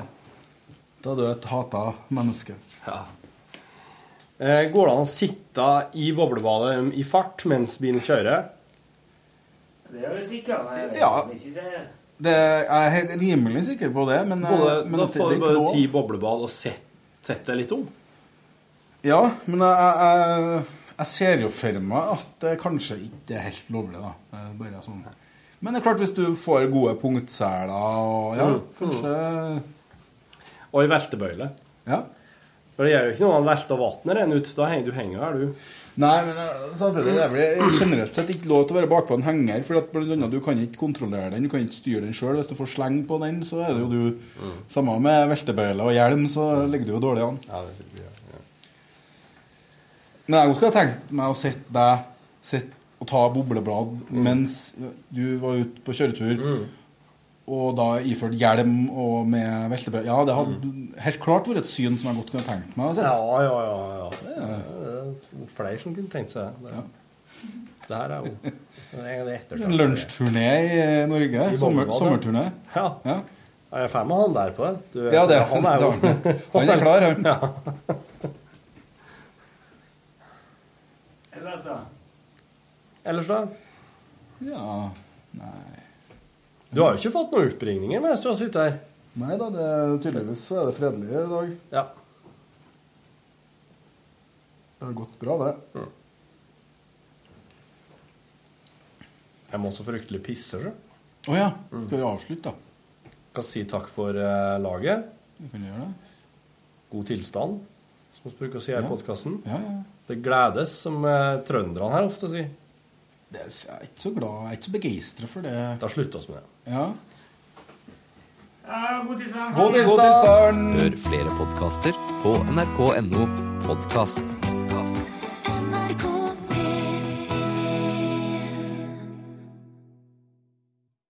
S15: Da er du et hata menneske.
S4: Ja. Eh, Går det an å sitte i boblebadet i fart mens bilen kjører?
S3: Det er jo sikkert. men Jeg vet
S15: Ja.
S3: ikke, ikke si det.
S15: Det, jeg er helt rimelig sikker på det, men, eh,
S4: Både,
S15: men
S4: da
S15: at det-
S4: får du
S15: det er ikke
S4: bare
S15: lov.
S4: ti boblebad og sett, sett deg litt om.
S15: Ja, men jeg, jeg, jeg- jeg ser jo for meg at det kanskje ikke er helt lovlig, da. Det er Bare sånn. Men det er klart, hvis du får gode punktseler og ja,
S4: Mm.
S15: kanskje
S4: Og i veltebøyle.
S15: Ja.
S4: For det gjør jo ikke noe om velter vannet renner ut. Da henger du henger her, du.
S15: Nei, men eh, samtidig det er vel generelt sett ikke lov til å være bakpå en henger, for at blant annet du kan ikke kontrollere den, du kan ikke styre den sjøl. Hvis du får sleng på den, så er det jo du
S4: Mm.
S15: Samme med veltebøyle og hjelm, så ligger du jo dårlig an.
S4: Ja, det sier du, ja. ja.
S15: Men jeg skulle ha tenkt meg å sette deg sett og ta bobleblad mens du var ute på kjøretur, og da iført hjelm og med veltebøy. Ja, det hadde helt klart vært et syn som jeg godt kunne tenkt meg å sett.
S4: Ja, ja, ja. ja. Det er, det er flere som kunne tenkt seg det. Det her er jo det er det ettertanke.
S15: En lunsjturné i eh, Norge.
S4: I
S15: Sommer,
S4: Vollebadet.
S15: sommerturné.
S4: Ja. Er jeg ferdig med han der på det? Du,
S15: Ja, det er
S4: han. Er jo,
S15: Han er
S4: (laughs)
S15: klar, han.
S3: Ellers, da?
S4: Ellers, da?
S15: Ja.
S4: Du har jo ikke fått noen oppringninger mens du har sittet her.
S15: Nei da, det, tydeligvis så er det fredelig i dag.
S4: Ja.
S15: Det har gått bra, det.
S4: Jeg må så fryktelig pisse, sjø.
S15: Å ja. Skal vi avslutte, da?
S4: Kan si takk for eh, laget.
S15: Vi kan gjøre det.
S4: God tilstand, som vi bruker å si her i podkasten.
S15: Ja, ja.
S4: Det gledes, som eh, trønderne her ofte sier.
S15: Det, jeg er ikke så glad, jeg er ikke så begeistra for det.
S4: Da slutter vi med det.
S15: Ja.
S3: Ja, god tilstand.
S15: God tilstand. God tilstand.
S8: Hør flere podkaster på nrk.no podkast.
S1: NRK